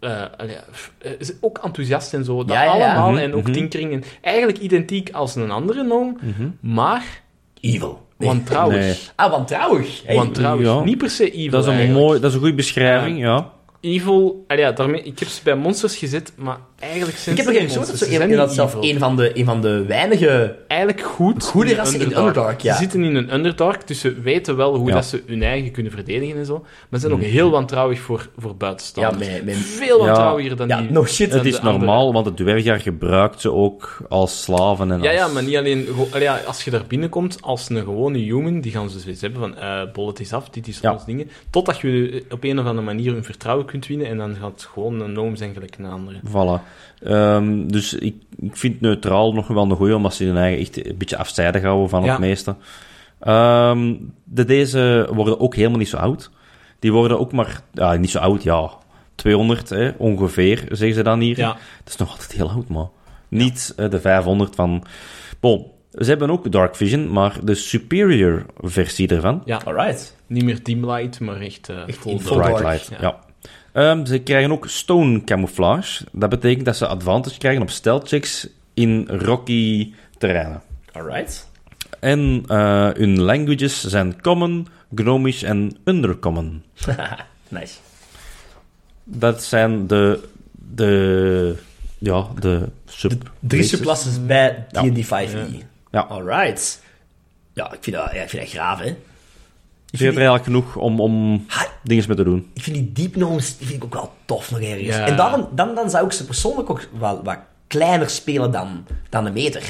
eh, allee, f- eh, ze- ook enthousiast en zo. Dat Ja, ja, ja. allemaal. Mhm, en ook mhm. tinkeringen. Eigenlijk identiek als een andere noom, maar Evil. Nee. wantrouwig. Nee. Ah, wantrouwig. Hey. wantrouwig. ja. Niet per se evil Dat is een, eigenlijk. mooi, dat is een goede beschrijving, ja. Evil... allee, ja, daarmee, ik heb ze bij monsters gezet, maar eigenlijk Ik zijn heb ze er geen geen zo dat monsters. zo een, Ze zijn inderdaad niet zelf evil. een van de, een van de weinige... eigenlijk goed. Goede in de rassen in Underdark, ja. Ze zitten in een Underdark, dus ze weten wel hoe Ja. dat ze hun eigen kunnen verdedigen en zo. Maar ze zijn ook heel wantrouwig voor, voor Mm. Ja, buitenstaanders. mijn... mijn Veel Ja. wantrouwiger dan ja, die... no shit. Dan Het is de andere. normaal, want het dwergar gebruikt ze ook als slaven en Ja, ja, als- maar niet alleen... gewo- allee, ja, als je daar binnenkomt, als een gewone human, die gaan ze zoiets hebben van... eh bollet is af, dit is Ja. ons dingen. Totdat je op een of andere manier hun vertrouwen kunt winnen en dan gaat het gewoon een noom zijn gelijk een andere. Voilà. Ehm, dus ik, ik vind neutraal nog wel een goeie, omdat ze hun eigen echt een beetje afzijdig houden van Ja. het meeste. Ehm, de, deze worden ook helemaal niet zo oud. Die worden ook maar, ja, niet zo oud, ja, 200 hè, ongeveer, zeggen ze dan hier. Ja. Dat is nog altijd heel oud, man. Niet eh, de 500 van... Bon, ze hebben ook Dark Vision, maar de superior versie ervan. Alright. Niet meer dimlight, maar echt, eh Echt full in full dark. Bright dark, Light, ja. ja. Ehm, ze krijgen ook Stone Camouflage. Dat betekent dat ze advantage krijgen op stealth checks in rocky terreinen. Alright. En eh, hun languages zijn Common, Gnomish en Undercommon. nice. Dat zijn de... de ja, de sub... Drie subclasses bij Ja. D&D 5e. Ja. E. Alright. Ja, ik vind dat, ja, ik vind dat graaf, hè. Je hebt er eigenlijk genoeg om, om dingen mee te doen. Ik vind die deep gnomes die vind ik ook wel tof nog ergens. Ja. En daarom, dan, dan zou ik ze persoonlijk ook wel wat kleiner spelen dan, dan een meter.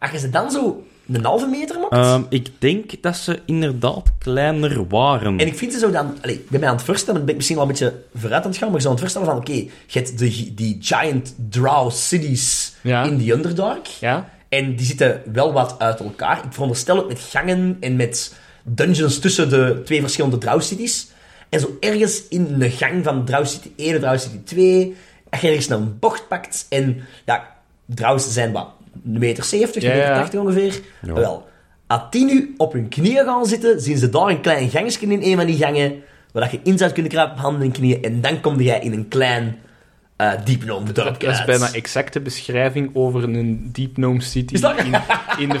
Als je ze dan zo een halve meter maakt... Eh. Ehm, ik denk dat ze inderdaad kleiner waren. En ik vind ze zo dan... Allee, ik ben mij aan het voorstellen, ben ik misschien wel een beetje vooruit aan het gaan, maar ik zou aan het voorstellen van, oké, je hebt de, die giant drow cities Ja. in the Underdark. Ja? En die zitten wel wat uit elkaar. Ik veronderstel het met gangen en met dungeons tussen de twee verschillende drow cities. En zo ergens in de gang van drow city 1 en drow city 2, als je ergens een bocht pakt en... Ja, drows zijn wat, 1,70 meter, 70, Ja, ja. 1,80 ongeveer. Ja. Wel, als die nu op hun knieën gaan zitten, zien ze daar een klein gangetje in een van die gangen, waar dat je in zou kunnen kruipen op handen en knieën, en dan kom jij in een klein eh diepnoom Dat dorpje is uit. bijna exacte beschrijving over een Deep Gnome City Is dat- in, in de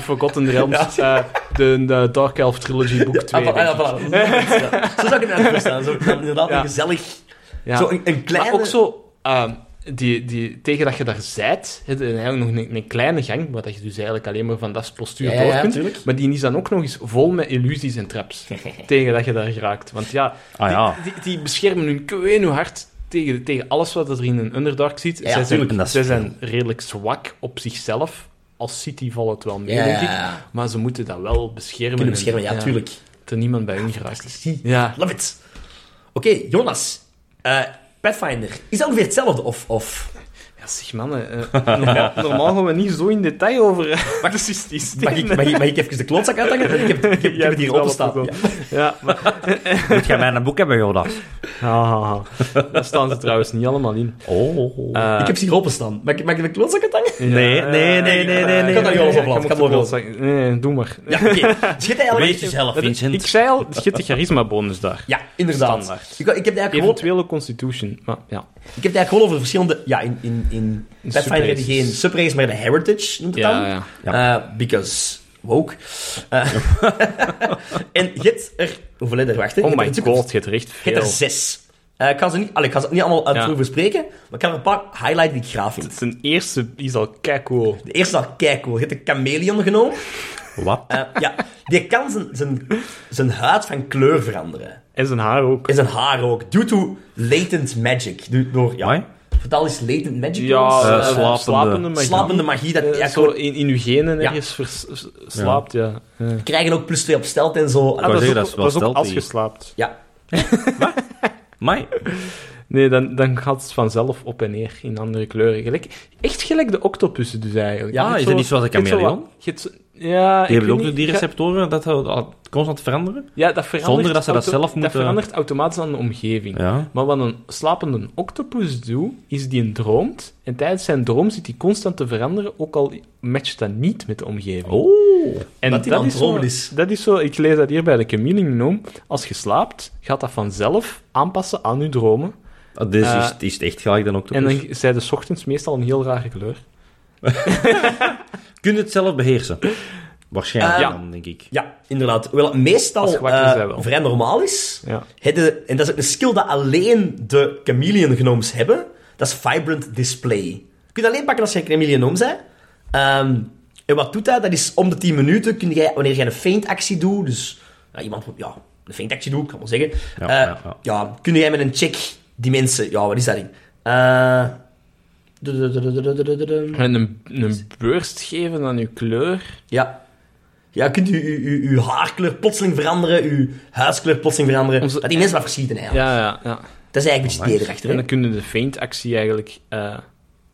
Forgotten Realms, eh, de, de Dark Elf Trilogy boek 2. Ah, voilà, voilà, voilà. Ja. Zo zou ik het eigenlijk verstaan. Zo, dan inderdaad Ja. een gezellig... Ja. Zo een, een kleine... Maar ook zo, ehm, die, die, tegen dat je daar zijt, heb je eigenlijk nog een, een kleine gang, waar dat je dus eigenlijk alleen maar van dat postuur Ja, ja, ja, door kunt. tuurlijk. maar die is dan ook nog eens vol met illusies en traps, tegen dat je daar geraakt. Want ja, Ah die, ja. Die, die beschermen hun kween hoe hard tegen, tegen alles wat er in een Underdark zit. Ja, zij tuurlijk. En zijn, dat is zij veel. zijn redelijk zwak op zichzelf. Als City valt het wel mee, Ja, denk ja, ja. ik. Maar ze moeten dat wel beschermen. Kunnen en- beschermen, ja, tuurlijk. Dat er niemand bij hun geraakt. Zie. Ja. Love it. Oké, Jonas. Eh, Pathfinder. Is dat ongeveer hetzelfde? Of... of... Ja, zeg mannen, eh, normaal, normaal gaan we niet zo in detail over eh, de systeem. Mag ik, mag, ik, mag ik even de klootzak uithangen? Want Ik heb, ik heb, ik Ja, heb het hier dat is wel openstaan. wat Ja, maar... Moet jij mij een boek hebben, Jonas? Ah, daar staan ze trouwens niet allemaal in. Oh. Eh, Ik heb ze hier openstaan. Mag, ik- mag ik de klootzak uithangen? ja, Nee, nee, nee, nee, nee, nee. eh, Ik had dat hier al je opgeplakt, moet ik had dat wel al zeggen. Nee, doe maar. Ja, oké. Dus je hebt eigenlijk... Weet jezelf, Vincent. Ik zei al, je hebt de charisma-bonus daar. Ja, inderdaad. Standaard. Ik, ik, heb het eigenlijk gewoon, Eventuele constitution. Maar, ja. ik heb het eigenlijk gewoon over verschillende... Ja, in, in, in Pathfinder heb je geen subraces. subrace, maar de heritage noemt het dan. Ja, ja. Eh, because woke. Eh, en je hebt er... Hoeveel heb je er? Wacht, hè. Je Oh hebt er my natuurlijk- god, je hebt er echt Je hebt veel. er zes. Eh, ik, kan ze niet, allee, ik kan ze niet allemaal Ja. uitvoerig bespreken, maar ik kan er een paar highlighten die ik graag vind. Zijn eerste is al keicool. De eerste al kijk hoor. Je hebt de chameleon genomen. Wat? Eh, ja, die kan zijn, zijn, zijn huid van kleur veranderen. En zijn haar ook. En zijn haar ook. Due to latent magic. Du- door, ja. Amai. Vertel eens latent magic. Ja, jongens. eh, eh, slapende. magie. slapende magie. Dat, Eh, ja, zo gewoon- in, in uw genen Ja. ergens vers- s- slaapt, ja. Eh. krijgen ook plus 2 op stelt en zo. wou is zeggen, ook- Ah, dat is wel ook stealthy. als je slaapt. Ja. Mai? Nee, dan, dan gaat het vanzelf op en neer in andere kleuren. Gelijk, echt gelijk de octopussen dus eigenlijk. Ja, Je hebt is zo- dat niet zoals een je hebt zo wat- chameleon? je hebt zo- Ja, Die ik hebben weet ook niet, die ga- receptoren dat dat- dat constant veranderen? Ja, dat verandert Zonder dat ze dat zelf Dat moeten- verandert automatisch aan de omgeving. Ja. Maar wat een slapende octopus doet, is die een droomt. En tijdens zijn droom zit hij constant te veranderen, ook al matcht dat niet met de omgeving. Oh. en dat die aan het zo, dromen is. dat is zo, ik lees dat hier bij de Chameleon Gnome. Als je slaapt, gaat dat vanzelf aanpassen aan je dromen. Ah, Dit is, Eh, is het echt gelijk dan ook. Dus En dan zijn de ochtends meestal een heel rare kleur. Kun je het zelf beheersen? Waarschijnlijk Eh, dan, denk ik. ja, inderdaad. Hoewel het meestal Als je wakker is, eh, hij wel. vrij normaal is. Ja. Het, eh, en dat is ook een skill dat alleen de chameleon genomes hebben. Dat is Vibrant Display. Je kunt alleen pakken als je een chameleon gnome bent. Ehm, en wat doet dat? Dat is om de 10 minuten, kun jij, wanneer jij een feint actie doet, dus ja, iemand moet, ja, een feint actie doet, kan wel zeggen. Ja, eh, ja, ja. ja, kun jij met een check die mensen, ja, wat is dat ding? Eh, En een, een beurst geven aan je kleur. ja. Ja, je kunt je, je, je, je haarkleur plotseling veranderen, je huidskleur plotseling veranderen. Onze- Dat die mensen wat verschieten eigenlijk. Ja, ja, ja. Dat is eigenlijk een beetje Amai. het idee erachter. En hè? dan kunnen de feint-actie eigenlijk eh,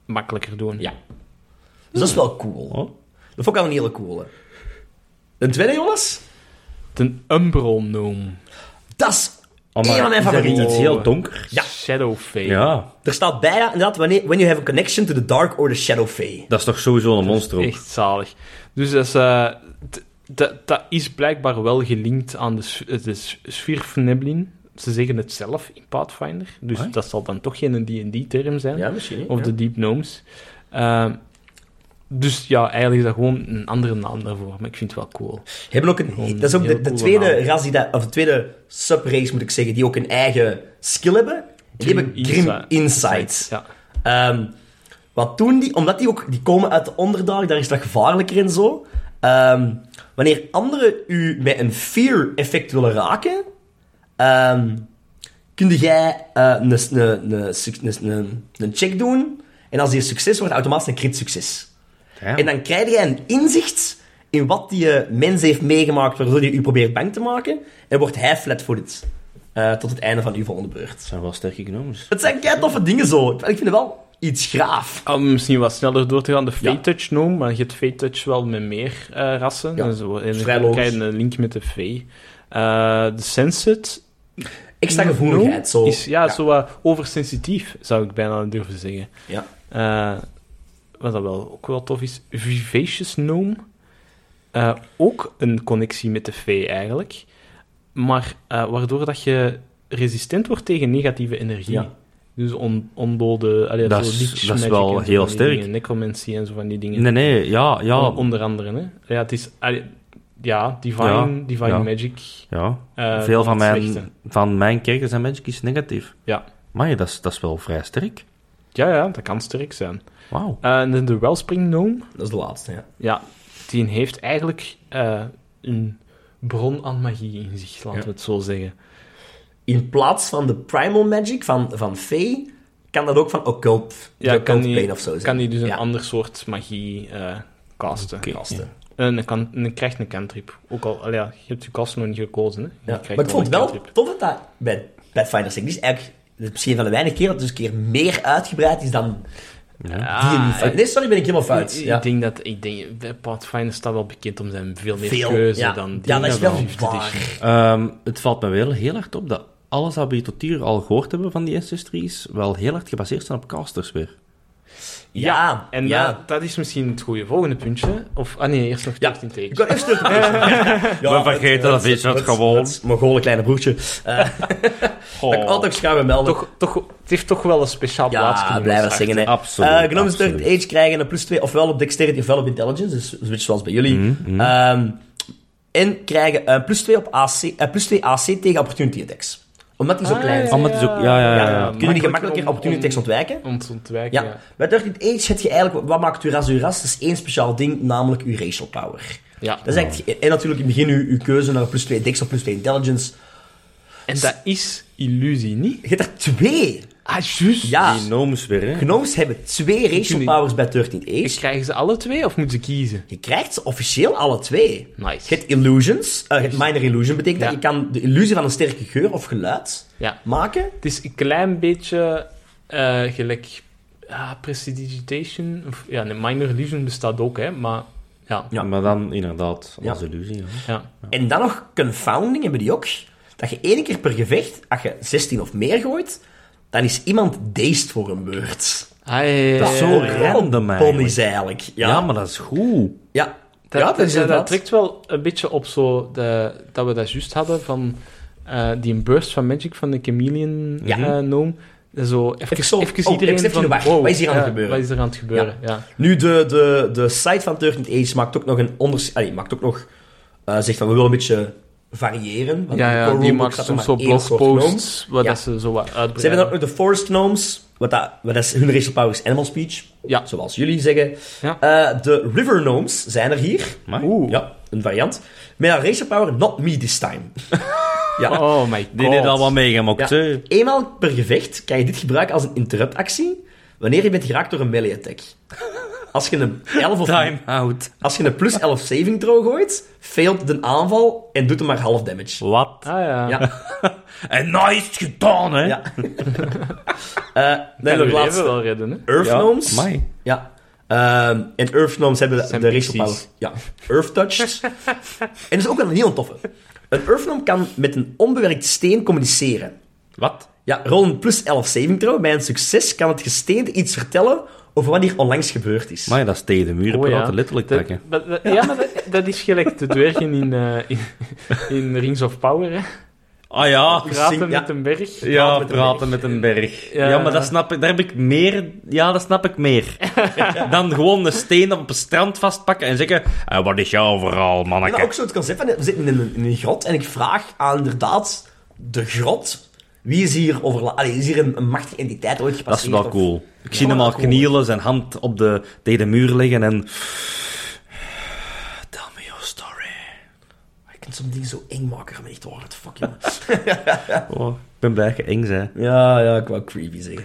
makkelijker doen. Ja. Dus dat is wel cool. Oh. Dat vond ik al een hele coole. Een tweede, Jonas? De Umbral Gnome. Dat is Oh, maar een van mijn is dat favorieten. niet iets heel donker. Ja. Shadow Fate. Ja, Er staat bij, ja, inderdaad, wanneer, when you have a connection to the dark or the shadow fae. dat is toch sowieso een monster ook. Echt zalig. Dus dat is, eh, d- dat- dat is blijkbaar wel gelinkt aan de, s- de s- Sphyrfneblin. Ze zeggen het zelf in Pathfinder. Dus Amai. dat zal dan toch geen D&D-term zijn. misschien. Of de Deep Gnomes. Ehm, dus ja, eigenlijk is dat gewoon een andere naam daarvoor. Maar ik vind het wel cool. Hebben ook een, Gewoon dat is ook de, heel de coole tweede naam. ras, die dat, of de tweede subrace, moet ik zeggen, die ook een eigen skill hebben. Die hebben Grim Insi- Insights. Ja. Ehm, wat doen die? Omdat die ook die komen uit de onderdag, daar is het wat gevaarlijker en zo. Ehm, wanneer anderen u met een fear-effect willen raken, ehm kun jij eh, een, een, een, suc- een, een, een check doen. En als die een succes wordt, automatisch een crit-succes. Ja. En dan krijg jij een inzicht in wat die eh, mens heeft meegemaakt, waardoor die u probeert bang te maken. En wordt hij flat voor dit. tot het einde van uw volgende beurt. Dat zijn wel sterke gnomes. Het zijn kei toffe dingen zo. Ik vind het wel iets graaf. Om misschien wat sneller door te gaan, de Ja. V-Touch noemen, maar je hebt V-Touch wel met meer eh, rassen. Ja, En, zo, en vrij dan krijg je logisch. een link met de V. Eh, de Sensit Extra gevoeligheid, zo. is ja, Ja. zo wat oversensitief, zou ik bijna durven zeggen. Ja. Eh, wat dat wel ook wel tof is, Vivacious Gnome. Eh, ook een connectie met de vee eigenlijk. Maar eh, waardoor dat je resistent wordt tegen negatieve energie. Ja. Dus on, ondode... Allee, Dat zo is- leech dat is magic wel en zo van heel die sterk. dingen, necromancy en zo van die dingen. Nee, nee, ja, ja. On- onder andere, hè. Ja, het is... allee, ja, divine, Ja, divine ja. magic. ja. eh, Veel van het mijn, slechte. van mijn kerken zijn mensen is negatief. Ja. Maar dat is, dat is wel vrij sterk. Ja, ja, dat kan sterk zijn. Wauw. Eh, en de Wellspring Gnome. Dat is de laatste, ja. Ja, die heeft eigenlijk eh, een bron aan magie in zich, laten we het zo zeggen. In plaats van de primal magic van, van Fae, kan dat ook van occult, Ja, occult kan die- plane of zo zijn. Kan die dus een Ja. ander soort magie eh, casten. Kasten. En dan, kan, dan krijgt een cantrip. Ook al, al ja, je hebt je cast nog niet gekozen. Hè. Je Ja. krijgt Maar ik vond het een wel cantrip. tof dat dat bij Pathfinder Second is. Eigenlijk, dat is misschien van de weinige keer dat het dus een keer meer uitgebreid is dan Ja. Die Ah, niet fout. Nee, sorry, ben ik helemaal fout. Ik, ik Ja. denk dat, ik denk, de Pathfinder staat wel bekend om zijn veel meer Veel, keuze ja. dan die Ja, dat is wel Fifth waar. Edition. Ehm, het valt me wel heel hard op dat alles wat we hier tot hier al gehoord hebben van die ancestries, wel heel hard gebaseerd zijn op casters weer. Ja, ja. En ja. dat, dat is misschien het goede volgende puntje. Of, ah nee, eerst nog Ja. 13 Ik tekens. kan even stuk. Ja, We vergeten het- dat het- is het het- gewoon. het Mongolen kleine broertje. Eh, Oh, Dat ik altijd schuim melden. Toch, toch, het heeft toch wel een speciaal plaatsje. ja, in blijven ons hart. zingen. Hè. Absoluut, Eh, Gnomes absoluut. Third Age krijgen een plus 2, ofwel op dexterity ofwel op intelligence, dus een beetje zoals bij jullie. Mhm, Ehm, en krijgen eh plus 2 op AC, eh, plus 2 AC tegen opportunity attacks. Omdat die zo Ah, eh, klein zijn. Oh, maar het is ook- ja, ja, ja, ja. Ja, kunnen die gemakkelijker om- opportunity attacks om- ontwijken? om te ontwijken, Ja. ja. Bij Third Age heb je eigenlijk, wat maakt uw ras uw ras? Dat is één speciaal ding, namelijk uw racial power. Ja. Ah. Dat is eigenlijk, en natuurlijk in het begin uw, uw keuze naar plus 2 dex of plus 2 intelligence. En dat is illusie, niet? Je hebt er twee. Ah, juist. Ja. Die gnomes weer, hè? Gnomes hebben twee racial niet. powers bij 13 Age. Krijgen ze alle twee of moeten ze kiezen? Je krijgt ze officieel alle twee. Nice. Je hebt illusions. eh, je hebt minor illusion betekent Ja. dat je kan de illusie van een sterke geur of geluid Ja. maken. Het is een klein beetje eh, gelijk... Ja, prestidigitation... Of, ja, nee, minor illusion bestaat ook, hè. Maar ja, Ja. Maar dan inderdaad, Ja. als illusie. Ja. ja. En dan nog confounding hebben die ook. Dat je één keer per gevecht, als je 16 of meer gooit, dan is iemand dazed voor een beurt. Ah, ja, ja, Dat is ja, zo ja. random, Ponies eigenlijk. eigenlijk. Ja, Ja. maar dat is goed. ja. Dat, ja, dat, dat is dat, inderdaad. trekt wel een beetje op zo de, dat we dat juist hadden van eh, die burst van Magic van de Chameleon Ja. eh Gnome. Zo even, Even zo, even oh, iedereen even van, wacht, wow, wat is hier aan het ja, gebeuren? Wat is er aan het gebeuren? Ja. Nu, de, de, de site van Turgent Age maakt ook nog een onders... Allee, maakt ook nog... eh, zegt van, we willen een beetje variëren. want Ja, in de ja, core die rulebook maakt staat soms er zo maar één soort gnome. blogposts waar Ja. dat ze zo wat Ze uitbreiden. hebben dan ook nog de Forest Gnomes, wat, dat, wat dat is hun racial power is animal speech, Ja. zoals jullie zeggen. Ja. Eh, de River Gnomes zijn er hier. Maar Oeh. Ja, een variant. Met een racial power, not me this time. ja. Oh my god. Die heeft allemaal meegemokt, Ja. hè? Eenmaal per gevecht kan je dit gebruiken als een interruptactie wanneer je bent geraakt door een melee attack. Als je een 11 of Time out. Als je een plus 11 saving throw gooit, failt de aanval en doet hem maar half damage. Wat? Ah ja. Ja. En nou is het gedaan, hè? Ja. Eh dan nog Kan uw leven laatste. wel redden, hè? Earth Gnomes. Ja. Amai. Ehm, en Earth Gnomes hebben de, Zijn de racial power. pixies. Ja. Earth Touch. en dat is ook wel een heel toffe. Een Earth Gnome kan met een onbewerkt steen communiceren. Wat? Ja, rol een plus 11 saving throw. Bij een succes kan het gesteente iets vertellen over wat hier onlangs gebeurd is. Maar dat is tegen de muren Oh, ja. praten, letterlijk Dat- pakken. dat- dat- ja, maar dat, dat is gelijk de dwergen in, eh, in, in Rings of Power, hè. Ah ja. Praten ja. met een berg. Ja, met een praten met een berg. Ja. Ja, maar dat snap ik, daar heb ik meer... Ja, dat snap ik meer. Dan gewoon een steen op een strand vastpakken en zeggen... "Eh, wat is jouw verhaal, Maar manneke? ook zo het concept van, we zitten in een, in een grot en ik vraag aan inderdaad de grot, wie is hier overla... Allee, is hier een, een machtige entiteit ooit Dat is gepasseerd? wel of- cool. Ik zie hem wel al cool. knielen, zijn hand op de, tegen de muur liggen en... Tell me your story. Ik kan soms dingen zo eng maken, maar echt waar, het fucking... Oh, ik ben blij dat je eng bent. ja, ja, ik wou creepy zeggen.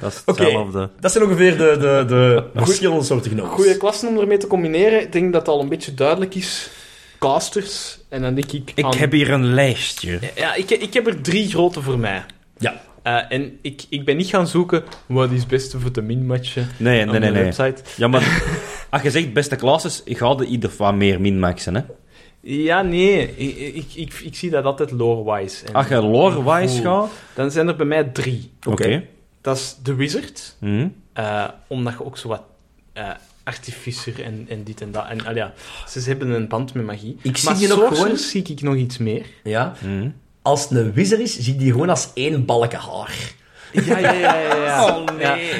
Dat is Oké, hetzelfde. dat zijn ongeveer de, de, de verschillende soorten gnomes. Goede klassen om ermee te combineren. Ik denk dat het al een beetje duidelijk is. Casters. En dan denk ik... Ik aan- heb hier een lijstje. Ja, ik, ik heb er drie grote voor mij. Ja. Eh, en ik, ik ben niet gaan zoeken wat is het beste voor de minmatchen Nee, op nee, nee. de nee. website. Ja, maar als je zegt beste classes, ik ga er ieder wat meer min-maxen, hè. Ja, nee. Ik, ik, ik, ik zie dat altijd lore-wise. En Als je lore-wise Oeh. gaat... Dan zijn er bij mij drie. Oké. Dat is de wizard. Mhm. eh, omdat je ook zo wat... eh, artificer en, en dit en dat. En ah ja, ze hebben een band met magie. Ik zie maar hier nog sorcerers gewoon- zie ik nog iets meer. ja. Mhm. Als het een wizard is, zie ik die gewoon als één balken haar. Ja, ja, ja, ja. ja. Oh,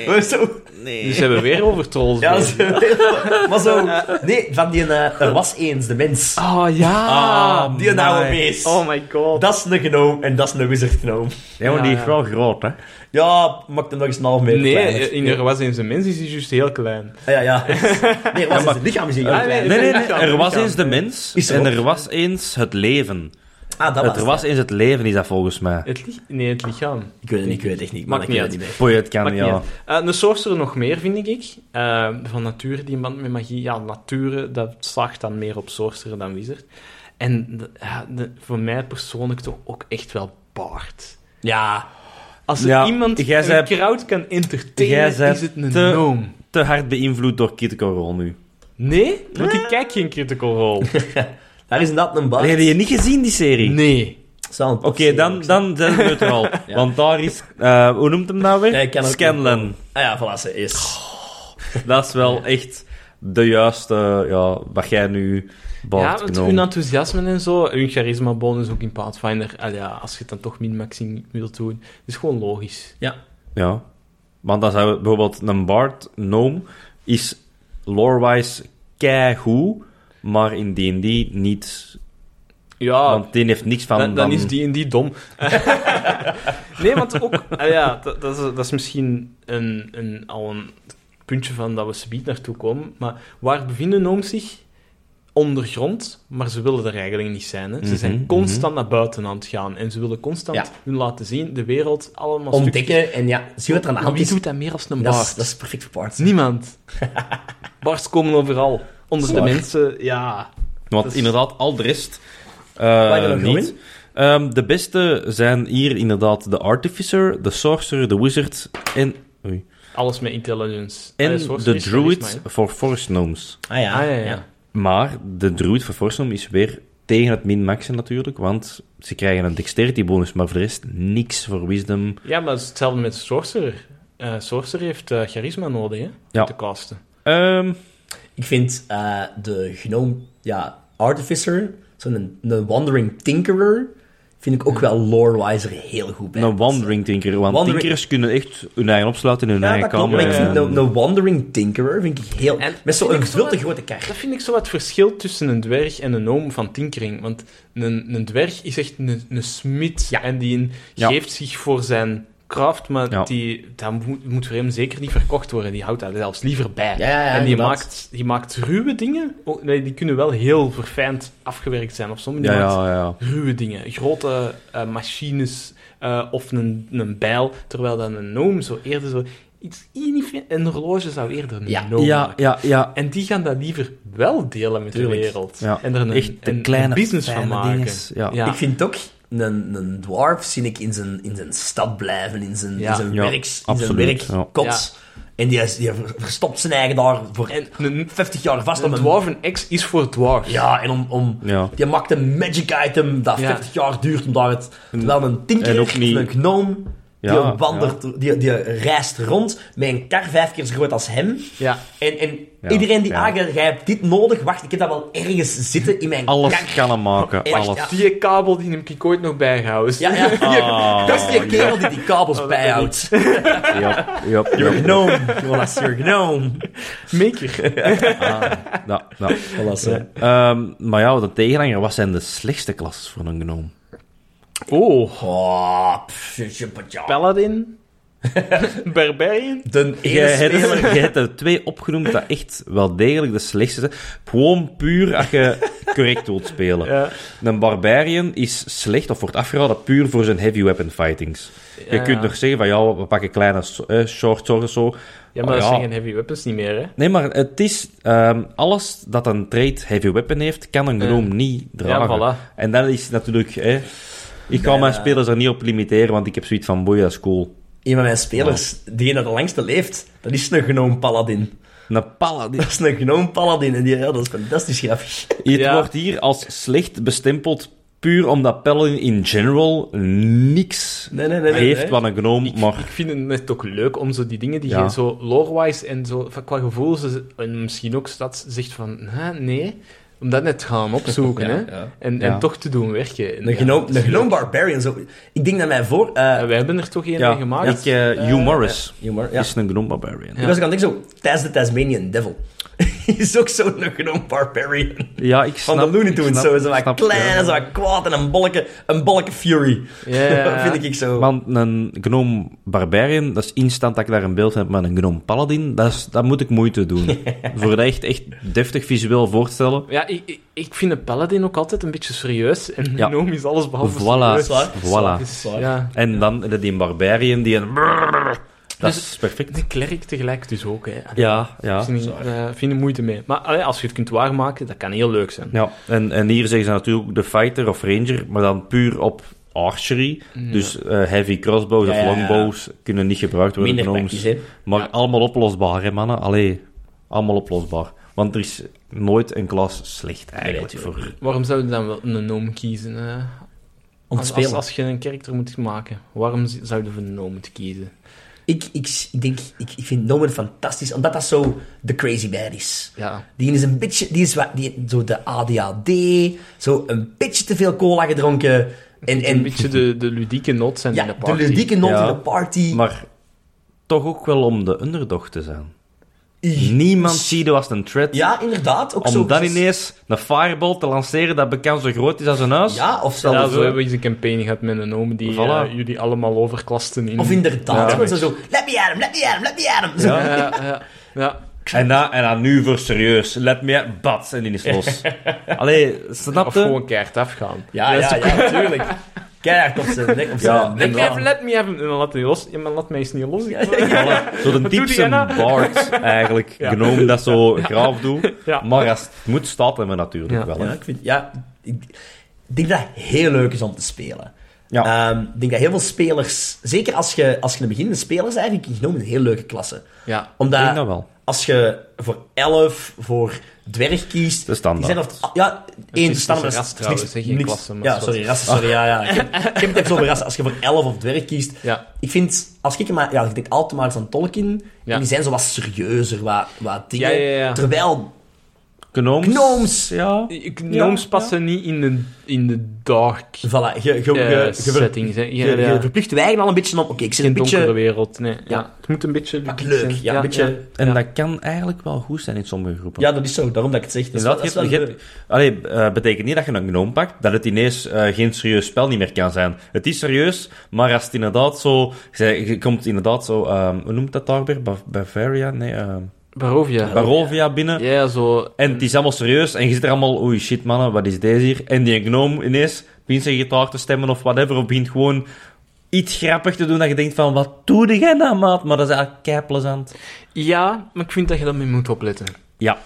Ja. Zo, Dus hebben we weer over trolls. ja, bezig. zo, maar zo... Nee, van die... eh, er was eens de mens. Ah, ja. Ah, die een oude nice. beest. oh my god. Dat is een gnome en dat is een wizard gnome. Ja, maar die Ja, is ja. wel groot, hè? Ja, maak hem nog eens een half meter nee, eh, kleiner. in er was eens een mens, is die juist heel klein. Ah, Ja, ja. Nee, was maar- het lichaam is hier Ah, heel klein. Nee, nee, nee. lichaam, Er was lichaam. eens de mens Is er en ook. er was eens het leven. Ah, dat was Er het. was eens het leven, is dat volgens mij. Het li- nee, het lichaam. Ik weet het niet, ik weet het echt niet. Maakt Maar ik weet niet het niet meer. Boy, het kan, Maakt ja. niet uit. Eh, een sorcerer nog meer, vind ik. Eh, van nature, die band met magie. Ja, nature, dat slaagt dan meer op sorcerer dan wizard. En de- ja, de- voor mij persoonlijk toch ook echt wel baard. Ja. Als er Ja, iemand jij een zei- crowd kan entertainen, jij is zei het een te- noom. Te hard beïnvloed door Critical Role nu. Nee? Want ik kijk geen Critical Role. Daar is inderdaad een baas. Heb je niet gezien, die serie? Nee. Zal een Oké, serie dan, ook dan zijn we neutraal. Want daar is... eh, hoe noemt hem nou weer? Ja, ik kan ook Scanlan. zijn. Ah ja, voilà, ze is. Dat is wel echt de juiste... Ja, wat jij nu... ja, Bart want Knol. hun enthousiasme en zo, hun charisma bonus ook in Pathfinder. Al ja, als je het dan toch min-maxing wilt doen, is gewoon logisch. Ja. Ja. Want dan zou bijvoorbeeld een bard, gnome, is lore-wise keigoed, maar in D&D niet. Ja, want die heeft niks van... Ah, dan, dan van- is die en die dom. nee, want ook, ah ja, dat, dat, is, dat is misschien een, een, al een puntje van dat we subiet naartoe komen. Maar waar bevinden gnomes zich? Ondergrond, maar ze willen er eigenlijk niet zijn. Hè. Ze Mhm, zijn constant naar buiten aan het gaan en ze willen constant Ja. hun laten zien, de wereld, allemaal Ontdekken en ja, zie wat er aan de stukjes. hand Wie is. doet dat meer als een Dat is, baard? dat is perfect voor parts. Niemand. Bars komen overal. Onder Zwaar. de mensen, eh, ja. Want dat is- inderdaad, al de rest eh, je er nog niet. in? Ehm, de beste zijn hier inderdaad de Artificer, de Sorcerer, de Wizard en, oei, Alles met intelligence. en Eh, de sorcery, charisma, Druid hè. voor Forest Gnomes. Ah ja. Ah, ja, ja. ja. Maar de Druid voor Forest Gnome is weer tegen het min-maxen natuurlijk, want ze krijgen een dexterity bonus, maar voor de rest niks voor wisdom. Ja, maar het is hetzelfde met Sorcerer. Eh, Sorcerer heeft eh, charisma nodig, hè? om Ja. Te casten. Ehm, Ik vind eh, de gnome, ja, artificer, zo'n een wandering tinkerer, vind ik ook wel lore-wise er heel goed bij. Een wandering tinker. Want Wandering- tinkers kunnen echt hun eigen opsluiten in hun Ja, eigen dat klopt. Maar kamer. ik en- vind een, een wandering tinkerer vind ik heel... En met vind zo'n ik zo veel te grote kar. Dat vind ik zo het verschil tussen een dwerg en een oom van Tinkering. Want een, een dwerg is echt een, een smid. Ja. En die een- Ja. geeft zich voor zijn kracht, maar Ja. die, dat moet, moet voor hem zeker niet verkocht worden. Die houdt daar zelfs liever bij. Ja, ja, ja, en die inderdaad. maakt, die maakt ruwe dingen. Oh, nee, die kunnen wel heel verfijnd afgewerkt zijn of zo. maar die Ja, maakt ja, ja. ruwe dingen, grote eh, machines eh, of een, een bijl, terwijl dan een gnoom zo eerder zo iets ienie fin- een horloge zou eerder een Ja. gnoom Ja, maken. ja, ja. En die gaan dat liever wel delen met Tuurlijk. de wereld. Ja. En er een, Echt de een, kleine, een business van fijne maken. dinges, ja. Ik vind ook, een, een dwarf zie ik in zijn, in zijn stad blijven, in zijn, Ja. in zijn, Ja, werks, in zijn absoluut, werk, ja. kots. En die, is- die ver- verstopt zijn eigen daar voor En een, 50 jaar vast een om een- dwarf, een ex is voor dwarf. Ja, en om... om Ja. Die maakt een magic item dat Ja. 50 jaar duurt om daar het... Terwijl een tinker, en ook niet- een gnome, Ja, die, wandert, die, die reist rond met een kar vijf keer zo groot als hem. Ja. En, en Ja, iedereen die ja. aangrijpt, jij hebt dit nodig, wacht, ik heb dat wel ergens zitten in mijn kar. Alles kan hem maken. Ja. Alles. Die kabel die heb ik ooit nog bijgehouden. Ja, ja. Ah, Oh, dat is die kerel die die kabels bijhoudt. Ja, ja, Your ja. gnome, Jonas, your gnome. Maker. Ja, ja. Voilà, zo. Ehm, maar ja, de tegenhanger, wat zijn de slechtste klasses voor een gnome? Oh, Oh, pff, je- je- paladin. Barbarian. De Jij ene hebt, speler... jij hebt er twee opgenoemd dat echt wel degelijk de slechtste zijn. Gewoon puur als je correct wilt spelen. Ja. Een barbarian is slecht of wordt afgeraden puur voor zijn heavy weapon fightings. je Ja. kunt nog zeggen van ja, we pakken kleine so- eh, short swords of zo. Ja, maar Oh dat ja. zijn geen heavy weapons niet meer, hè. Nee, maar het is ehm, alles dat een trait heavy weapon heeft, kan een gnome niet dragen. Ja, voilà. En dat is natuurlijk. Hè, ik kan Nee, mijn eh. spelers daar niet op limiteren, want ik heb zoiets van boeien, dat is cool. Een van mijn spelers, die dat de langste leeft, dat is een gnome paladin. Een paladin. Dat is een gnome paladin en die, ja, dat is fantastisch grappig. Het Ja. wordt hier als slecht bestempeld. Puur omdat Paladin in general niks Nee, nee, nee, nee, heeft nee. wat een gnome, maar Ik vind het net ook leuk om zo die dingen die Ja. je zo lore-wise en zo van qua gevoel, ze- en misschien ook dat zegt van, "Hè, nee, om dat net te gaan opzoeken, Ja, hè. ja. En, Ja. en toch te doen werken. En Een ja, gnome, dat is een leuk. gnome barbarian. Zo. Ik denk dat mij voor... eh Ja, wij hebben er toch één ja, mee gemaakt. ik, eh, Hugh Morris Humor, ja. is een gnome barbarian. Ik was ook aan het denken zo, Taz the Tasmanian Devil. is ook zo'n gnome barbarian. Ja, ik Van snap... de Looney Tunes, ik zo, snap- zo wat snap- klein, ja. en zo wat kwaad en een bolleke, een bolleke fury. Ja, ja, ja. eh, vind ik ik zo. Want een gnome barbarian, dat is instant dat ik daar een beeld heb, maar een gnome paladin, dat, is, dat moet ik moeite doen. Voor dat echt, echt deftig visueel voorstellen. Ja, ik, ik, ik vind een paladin ook altijd een beetje serieus. En een Ja. gnome is alles behalve Voilà, serieus. waar. voilà. Dus, Zwaar. ja. En dan heb je die barbarian die een... Dat Dus- is perfect. De klerk tegelijk dus ook, hè. Daar Ja, ja. vind ik- eh, vind ik moeite mee. Maar allee, als je het kunt waarmaken, dat kan heel leuk zijn. Ja, en, en hier zeggen ze natuurlijk ook de fighter of ranger, maar dan puur op archery. Dus eh, heavy crossbows Mm, Ja, of ja, ja. longbows kunnen niet gebruikt worden Minder door praktisch, gnomes. hè? Maar Ja. allemaal oplosbaar, hè mannen? Allee, allemaal oplosbaar. Want er is nooit een klas slecht eigenlijk Nee, voor. Waarom zou je dan wel een noom kiezen? hè? Om te als, als, spelen. als je een karakter moet maken, waarom z- zou je voor een noom moeten kiezen? Ik, ik, ik denk, ik, ik vind Nomen fantastisch, omdat dat zo de crazy man is. Ja. Die is een beetje, die is wat, die, zo de ADHD, zo een beetje te veel cola gedronken. En, Een en beetje de, de ludieke noot zijn ja, in de de, party. ludieke noot Ja. in de party. Maar toch ook wel om de underdog te zijn. Niemand ziet als een threat. ja, inderdaad. Ook zo, om dan ineens een fireball te lanceren dat bekend zo groot is als een huis. Ja, of zelfs... Ja, zo hebben we eens een campaign gehad met een oom die Voilà. eh, jullie allemaal overklasten in. Of Ja. inderdaad, want zo, zo, let me at him, let me at him, let me at him. Zo, Ja. Ja, ja, ja. En, dan, en dan nu voor serieus. Let me at bats. En die is los. Allee, snap Of je? gewoon keihard afgaan. Ja, Dat is ja, ook- ja, natuurlijk. Keihard op zijn nek. Op zijn Ja, nek Let me slaan. even, let me even. En dan laat hij los. Ja, maar laat mij eens niet los. Ja, Voilà. Zo de doet die diepste Anna? bard eigenlijk. Ja. Genomen dat zo graaf doet. Ja. Maar als het moet, staat hem er natuurlijk Ja. wel. Ja, Hè. ik, vind, ja, ik ik denk dat het heel leuk is om te spelen. Ja. Ehm, ik denk dat heel veel spelers, zeker als je, als je een beginnende speler bent, vind ik genomen een heel leuke klasse. ja. Ik Omdat denk dat wel. als je voor elf, voor dwerg kiest, De standaard. die zijn of, ah, ja, één is- standaard. het is een ras niks- trouwens, hè, geen niks- klasse, maar Ja, zo. sorry, rassen, sorry, ja, ja. Ik heb, ik heb het even over rassen. Als je voor elf of dwerg kiest, Ja. ik vind, als ik maar, ja, ik denk altijd maar eens aan Tolkien, Ja. en die zijn zo wat serieuzer, wat, wat dingen. Ja, ja, ja. Terwijl Gnomes. Gnomes. Ja. Gnomes passen niet in de, in de dark Voilà, je, je, eh, je, je, ver- settings. hè. je- Ja, je ja. verplicht je eigen al een beetje om... Oké, ik zit Geen een donkere beetje... wereld. Nee. Ja. Ja. Het moet een beetje Pak ludiek leuk, zijn. ja, een beetje... En Ja. dat kan eigenlijk wel goed zijn in sommige groepen. Ja, dat is zo, daarom dat ik het zeg. Dat is wel- Inderdaad, dat is je hebt- wel je hebt- Allee, eh, betekent niet dat je een gnome pakt, dat het ineens eh, geen serieus spel niet meer kan zijn. Het is serieus, maar als het inderdaad zo... Je, je komt inderdaad zo... ehm, hoe noemt dat daar weer? Bav- Bavaria? Nee, ehm, Barovia. Barovia binnen. Ja, zo. En het is allemaal serieus en je zit er allemaal... Oei, shit, mannen, wat is deze hier? En die gnome ineens begint zijn gitaar te stemmen of whatever, of begint gewoon iets grappig te doen dat je denkt van... Wat doe jij nou, maat? Maar dat is eigenlijk keiplezant. Ja, maar ik vind dat je daarmee moet opletten. Ja,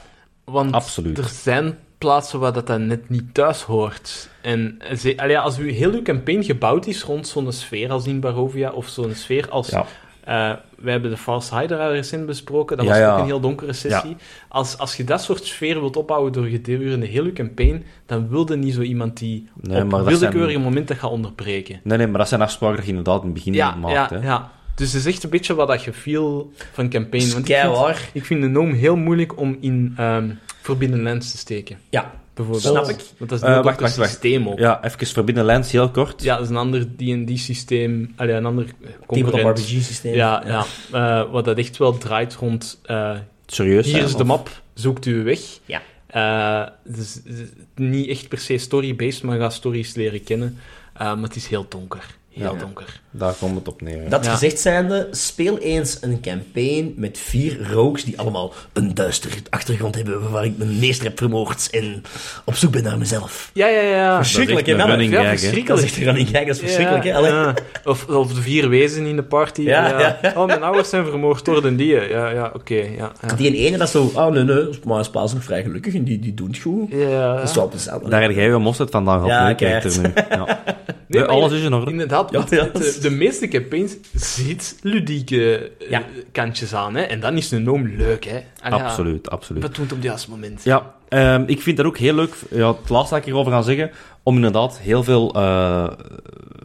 Want Absoluut. er zijn plaatsen waar dat, dan net niet thuis hoort. En ze- allee, als u heel uw campaign gebouwd is rond zo'n sfeer als in Barovia, of zo'n sfeer als... ja. eh, we hebben de False Hydra recent besproken, dat Ja, was ja. ook een heel donkere sessie. Als, als je dat soort sfeer wilt opbouwen door gedurende heel uw campaign, dan wilde niet zo iemand die Nee, op maar dat willekeurige zijn- momenten gaat onderbreken. Nee, nee, maar dat zijn afspraken dat je inderdaad in het begin Ja, niet maakt, ja, hè. ja. Dus het is echt een beetje wat dat gevoel van campaign... Want ik, vind, Skylar. ik vind de noom heel moeilijk om in ehm Forbidden Lands te steken. Ja, Bijvoorbeeld. Snap ik. Want dat is Eh, een wacht, ander wacht, wacht. systeem ook. Ja. Ja, even verbinden lens, heel kort. dat is een ander D&D-systeem. Allee, een ander eh, tabletop concurrent. RPG-systeem. Ja, ja. Eh, wat dat echt wel draait rond... eh, Serieus. hier hè, is of- de map, zoekt u uw weg. Ja. Eh, dus, eh, niet echt per se story-based, maar ga stories leren kennen. Eh, maar het is heel donker. Heel Ja. donker. Daar komt het op neer. hè. Dat Ja. gezegd zijnde, speel eens een campaign met vier rogues die allemaal een duistere achtergrond hebben waar ik mijn meester heb vermoord en op zoek ben naar mezelf. Ja, ja, ja. Dat is echt verschrikkelijk, hè, een mannen? running Nou, Ja, gag, hè. verschrikkelijk. Dat is echt een kijk, dat is verschrikkelijk. hè? Allee. ja. Of, of de vier wezen in de party. Ja, Ja, Oh, mijn ouders zijn vermoord door de die. Ja, ja, oké. ja, ja. Die ene dat is zo, oh nee, nee, maar Spaans zijn vrij gelukkig en die, die doen het goed. Ja, ja. Dat is wel plezant. Daar heb jij je mosterd vandaag op. Ja, Ja, kijk er nu. Ja. Nee, Ja, maar alles is in orde. Inderdaad, Ja, want eh, ja. De, de meeste campaigns zit ludieke eh, Ja. kantjes aan. Hè? En dan is een noom leuk, hè? Ah, ja. Absoluut, absoluut. Wat doet op het juiste moment? Ja, ehm, ik vind dat ook heel leuk. Ja, het laatste dat ik hierover ga zeggen, om inderdaad heel veel eh,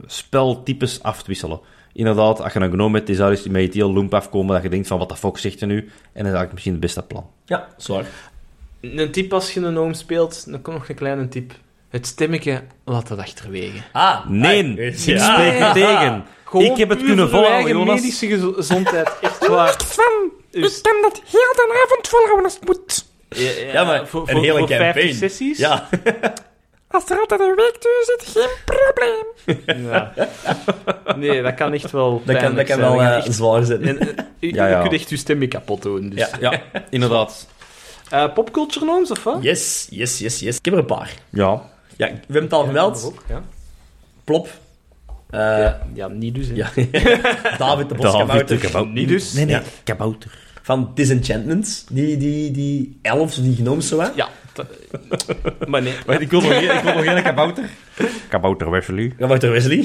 speltypes af te wisselen. Inderdaad, als je een gnome hebt, is daar eens met het heel loemp afkomen dat je denkt van, wat de fuck zegt er nu? En dan is eigenlijk misschien het beste plan. Ja, zwaar. Een tip als je een noom speelt, dan komt nog een kleine tip. Het stemmetje, laat dat achterwege. Ah, Nee, ah, ik ja. spreek er tegen. Gewoon Ik heb het puur kunnen voor uw volhouden, eigen Jonas. medische gez- gezondheid, echt waar. van. Dus- Ik kan dat heel de avond volhouden als het moet. Ja, Ja, maar voor, een voor- hele voor 50 campaign. sessies. Ja, Als er altijd een week tussen zit, geen probleem. Ja. Nee, dat kan echt wel. dat kan, dat pijnlijk kan zijn. wel eh, Dat kan echt- zwaar zijn. en, eh, je, Ja, ja. je kunt echt je stemje kapot doen. Dus. Ja. Ja, inderdaad. Eh, popculture norms of wat? Yes, yes, yes, yes. Ik heb er een paar. Ja, Ja, we hebben het al gemeld. ook, ja. Plop. Eh, ja. ja, niet dus. hè. ja. David de David de Boskabouter. kabouter. Niet dus. Nee, nee, Ja. kabouter. Van Disenchantment. Die, die, die elves of die genomen zo hè? Ja, dat- Maar Ah, nee. Wacht, ik wil nog geen- ik wil nog geen kabouter. Kabouter Wesley. Kabouter Wesley.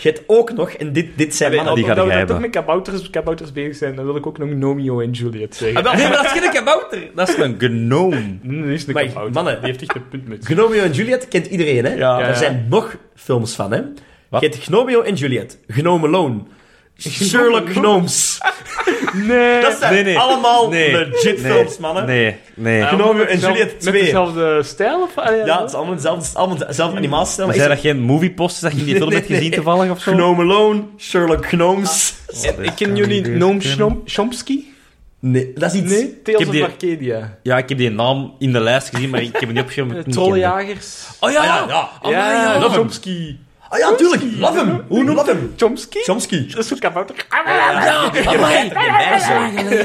Je hebt ook nog, en dit, dit zijn Allee, mannen... die omdat ga we jij dan hebben. toch met kabouters, kabouters bezig zijn, dan wil ik ook nog Nomeo en Juliet zeggen. Ah, wel, Nee, maar dat is geen kabouter. Dat is een gnoom. Nee, dat is een Maar kabouter. mannen, die heeft echt een punt met. Gnomeo en Juliet kent iedereen, hè? Ja. Daar Ja, ja. zijn nog films van, hè? Wat? Je hebt Gnomeo en Juliet. Gnome Alone. Sherlock Gnomes. Nee! Dat zijn allemaal legit nee, films, mannen. Nou. Nee, nee. Ja. Romeo en Juliet Met 2. dezelfde stijl? Of, ah, Ja, het is allemaal dezelfde, allemaal dezelfde animatiestijl. Zijn dat geen movieposts dat je die film Nee, hebt nee, gezien nee. toevallig of zo? Gnome Alone, Sherlock Gnomes. En Eh, Ik ken jullie Noam Chom- Chomsky? Nee, dat is iets... Nee, Ik Tales heb of die- Arcadia. Ja, ik heb die naam in de lijst gezien, maar ik heb hem niet opgeschreven. omdat ik hem niet kende. Trollenjagers. Oh ja, ja, ja. Oh, ja, ja. Love him. Chomsky. Ah ja, tuurlijk. Love him. Hoe noemt Love him? Chomsky? Chomsky. Dat is zo'n kabouter. Ja, amai.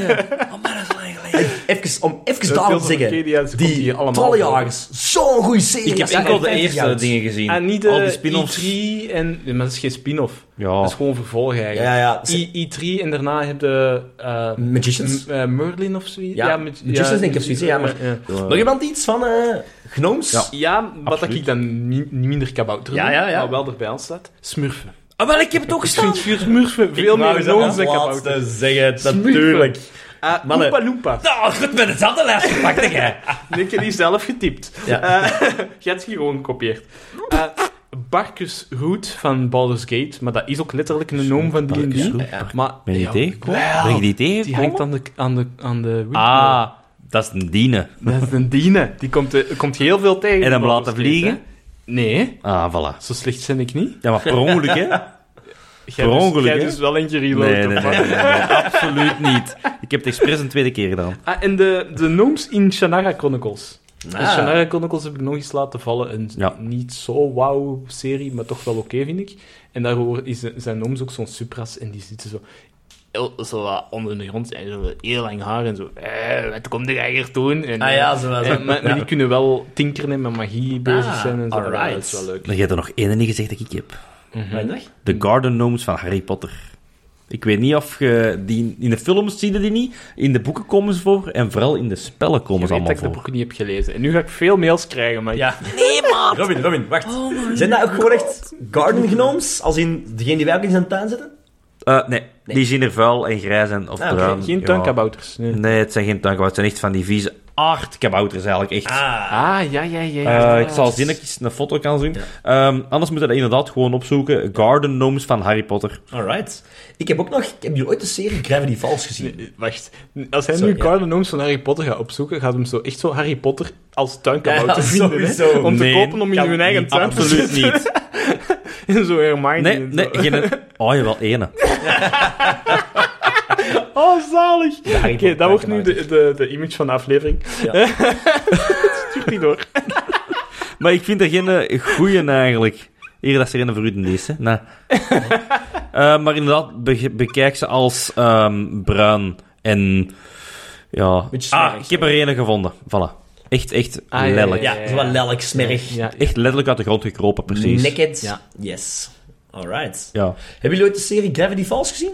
Oh, Even, om even daarom te zeggen, Arcadia, ze komt die hier allemaal Trollenjagers, zo'n goede serie. Ik heb Ja, enkel de 50 eerste jaar. dingen gezien. En Ah, niet Al die de spin-offs. Oh. E3 en... Nee, maar dat is geen spin-off. Ja. Dat is gewoon vervolg eigenlijk. Ja, ja. Ze- I- E3 en daarna heb je... eh, Magicians? M- eh, Merlin of zoiets. Ja, met- Magicians denk ik of zoiets, hè, ja, maar- Ja, Mm. Nog iemand iets van eh Gnomes? Ja. Ja, wat dat Absoluut. ik dan niet niet minder kabouter Ja, noem, ja, ja. maar wel erbij aan staat. Smurfen. Ah, wel, ik heb het ook Ik vind vuur- smurfen veel wou meer ze als noons dan laatste kabouter. zeggen, Smurfen. natuurlijk. Ah, Mannen. Oompa Loompa. Nou, goed met dezelfde lijst gepakt, hè. Ik heb die zelf getypt. Ja. Eh, je hebt die gewoon gekopieerd. Eh, Barkus Root van Baldur's Gate, maar dat is ook letterlijk een noom van Barkus D&D. Root, Barkus- Maar Ben je die Ja, tegengekomen? wel. Ben je die Die hangt tegengekomen? aan de, aan de, aan de windmill. Ah, dat is een diene. Dat is een diene. Die komt, eh, komt heel veel tegen. En hem in laten Baldur's Gate, vliegen? hè. Nee, Ah, voilà. zo slecht zijn ik niet. Ja, maar per ongeluk, hè? Jij Per dus- ongeluk, jij hè? dus wel eentje Nee, reload. nee, nee, nee, nee, absoluut niet. Ik heb het expres een tweede keer gedaan. Ah, en de, de gnomes in Shannara Chronicles. En Ah. Shannara Chronicles heb ik nog eens laten vallen. Een Ja. niet zo wauw serie, maar toch wel oké, vind ik. En daar hoor- is, zijn gnomes ook zo'n supras en die zitten zo... Heel, zo wat onder de grond en zo heel lang haar en zo... Eh, wat komt er eigenlijk doen? En, eh, Ah ja, zo wel. en- zo. maar, maar die kunnen wel tinkeren en met magie bezig zijn en zo. alright. Ja, Dat is wel leuk. Maar je hebt er nog één niet gezegd dat ik heb. Mijn dag? De Garden Gnomes van Harry Potter. Ik weet niet of je die in de films zie je die niet, in de boeken komen ze voor en vooral in de spellen komen Ik ze weet dat allemaal ik de voor. boeken niet heb gelezen. En nu ga ik veel mails krijgen, maar... Ja. Nee, man. Oh, Robin, Robin, wacht. Zijn dat ook gewoon echt garden gnomes? Als in degene die wij ook in zijn tuin zitten? Eh, nee, die zien er vuil en grijs en of Ah, oké. bruin. Geen ja. tuinkabouters. nee. Nee, het zijn geen tuinkabouters. Het zijn echt van die vieze aardkabouters eigenlijk. Echt. Ah. Ah, ja, ja, ja. Eh, ja. ik zal zien dat ik eens een foto kan zien. Ehm, anders moet je dat inderdaad gewoon opzoeken. Garden Gnomes van Harry Potter. Alright. Ik heb ook nog... Ik heb jullie ooit de serie Gravity Falls gezien? Nee, Wacht, als hij Sorry, nu ja. Garden Gnomes van Harry Potter gaat opzoeken, gaat hem zo echt zo Harry Potter als tuinkabouter Ja, vinden. hè? sowieso. Om te Nee, kopen om in kan hun eigen niet, tuin te Absoluut niet. zetten. En zo Hermione. Nee, en nee, zo. geen... Oh, jawel, ene. Oh, zalig. Oké, Harry Potter dat wordt nu de, de, de image van de aflevering. Ja. Stuur die door. Maar ik vind er geen eh, goeie eigenlijk. Hier, dat is er een voor u de eerste. Nee. Eh, maar inderdaad, be- bekijk ze als ehm, bruin en... Ja. Beetje smerig. Ah, ik heb er een gevonden. Voilà. Echt, echt Ah, ja, ja, lelijk. Ja, zo wel lelijk, smerig. Ja, ja. Echt letterlijk uit de grond gekropen, precies. Naked. Ja. Yes. Alright. Ja. Hebben jullie ooit de serie Gravity Falls gezien?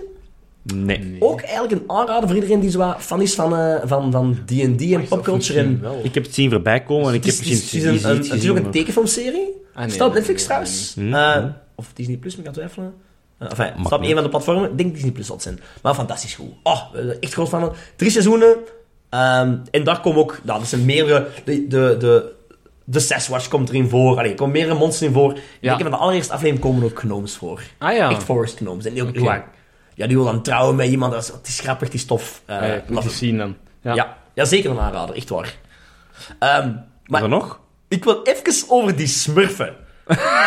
Nee. Ook eigenlijk een aanrader voor iedereen die zo wat fan is van eh, van van D&D en popculture. En... Wel. Ik heb het zien voorbij komen en ik Het heb is, het misschien... is, het is een, een, niet het is gezien, ook een maar- tekenfilmserie. Ah, nee, staat op dat Netflix weet ik trouwens. niet. Eh, Mhm. Of Disney Plus, ik kan twijfelen. Eh, enfin, het staat op Makkelijk. een van de platformen. Ik denk Disney Plus zal het zijn. Maar fantastisch goed. Oh, we zijn echt groot van. Drie seizoenen. Ehm, en daar komen ook... Nou, dat zijn meerdere... De, de, de, de Sasquatch komt erin voor. Allee, er komen meerdere monsters in voor. Ja. Ik heb in de allereerste aflevering komen ook gnomes voor. Ah ja. Echt forest gnomes. En die ook Oké. heel lang. Ja, die wil dan trouwen met iemand. Dat is, het is grappig, het is tof. Eh, Ah, ja, ik moet maar- die zien dan. Ja. ja. Ja, zeker een aanrader. Echt waar. Ehm, maar Is er nog? ik wil even over die smurfen.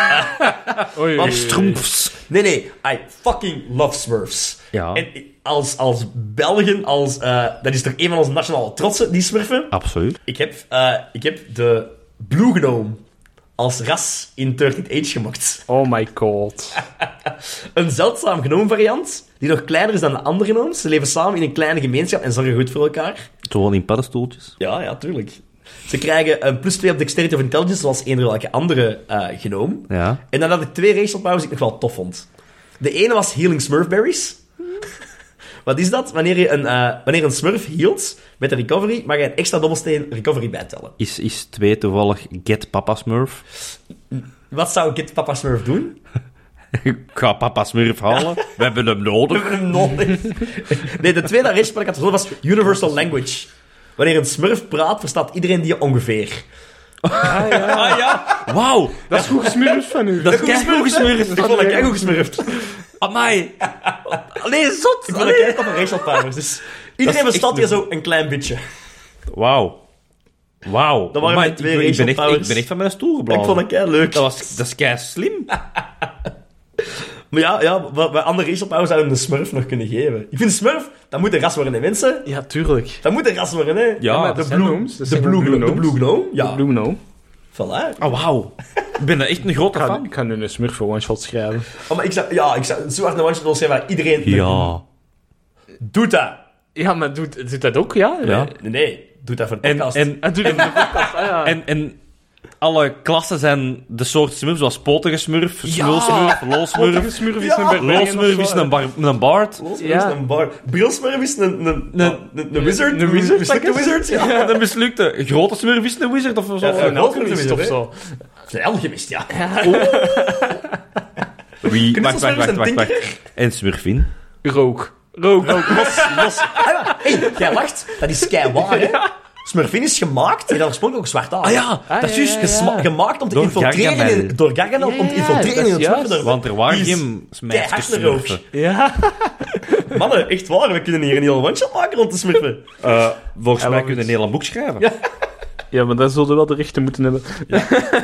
Oei, oei, oei. Stroemfs. Nee, nee. I fucking love smurfs. Ja. En ik- als, als Belgen, als, eh, dat is toch een van onze nationale trotsen, die smurfen. Absoluut. Ik heb, eh, ik heb de Blue Gnome als ras in 13 Age gemokt. Oh my god. Een zeldzaam gnome variant, die nog kleiner is dan de andere gnomes. Ze leven samen in een kleine gemeenschap en zorgen goed voor elkaar. Zo gewoon in paddenstoeltjes. Ja, ja, tuurlijk. Ze krijgen een plus 2 op dexterity of intelligence, zoals eender welke andere eh genoom. Ja. En dan had ik twee racial powers die ik nog wel tof vond. De ene was Healing Smurfberries. Wat is dat? Wanneer je een, eh, wanneer een smurf hield met een recovery, mag je een extra dobbelsteen recovery bijtellen. Is, is twee toevallig Get Papa Smurf? Wat zou ik het papa smurf doen? Ik ga Papa Smurf halen. We hebben hem We nodig. hebben hem nodig. Nee, de tweede rechtspraak ik had gezonden was universal language. Wanneer een smurf praat, verstaat iedereen die ongeveer. Ah ja? Wauw! Dat is goed gesmurfd van u. Dat is goed Ik vond dat keigoed gesmurfd. Amai! Allee, zot! Ik wil dat kijken op een racial powers. Dus iedereen echt verstaat hier een- zo een klein beetje. Wauw. Wauw. Dat waren Amai, mijn twee ik ben- ik, ben racial echt, powers. ik ben echt van mijn stoel Ik geblazen. vond dat kei leuk. Dat, was, dat is kei slim. Maar ja, ja bij, bij andere racial powers zouden we een smurf nog kunnen geven. Ik vind smurf, dat moet een ras worden, hè, mensen. Ja, tuurlijk. Dat moet een ras worden, hè. Ja. maar de Ah, dat zijn blue, gnomes. Dat de zijn blue, gewoon gno- de blue blue gnome. Ja. Ja, Bloem nou. voilà. Oh, wauw. Ik ben er echt een grote Ik ga, fan. ik ga nu een smurf voor one-shot schrijven. Oh, maar ik zou, ja, ik zou zo hard een one-shot zijn waar iedereen... Ja. Doet dat. Ja, maar doet, doet dat ook, ja? Ja. Nee, nee. Doet dat voor de En, podcast. en, Hij doet dat in de podcast, ah, ja. en, en alle klassen zijn de soort smurf, zoals potige smurf, smulsmurf, Potige lolsmurf. smurf is Ja. een Berlijn of Lolsmurf zo, is hè. een, bar, een baard. Smurf Ja. is een bar. Brilsmurf is een, een, een, een, wizard. een wizard, Een slechte zeker? wizard, ja. En een mislukte. Grote smurf is een wizard of zo. Ja, Of een Ja, alchemist alchemist, of zo. Een alchemist, ja. Wie? Kunnen Wacht, ze wacht, wacht, smurfs wacht, en wacht. En smurfin. Rook. Rook. Los, los. Ah, ja. hey, jij lacht. Dat is kei waar, hè. Smurfin is gemaakt. En dan sprong ook zwart aan. Ah ja, dat is ja, juist. ja, gesma- Gesma- Gemaakt om te Door infiltreren Gargamel. in, door Gargamel. om te Ja, ja, infiltreren dat in is het juist. zwart. Want er waren Die is geen keihard naar smurfen. rook. Ja. Mannen, echt waar. We kunnen hier een heel one-shot maken rond de smurfen. Eh, volgens I mij love kunnen dus- it. we een heel boek schrijven. Ja, maar dat zullen we wel de rechten moeten hebben.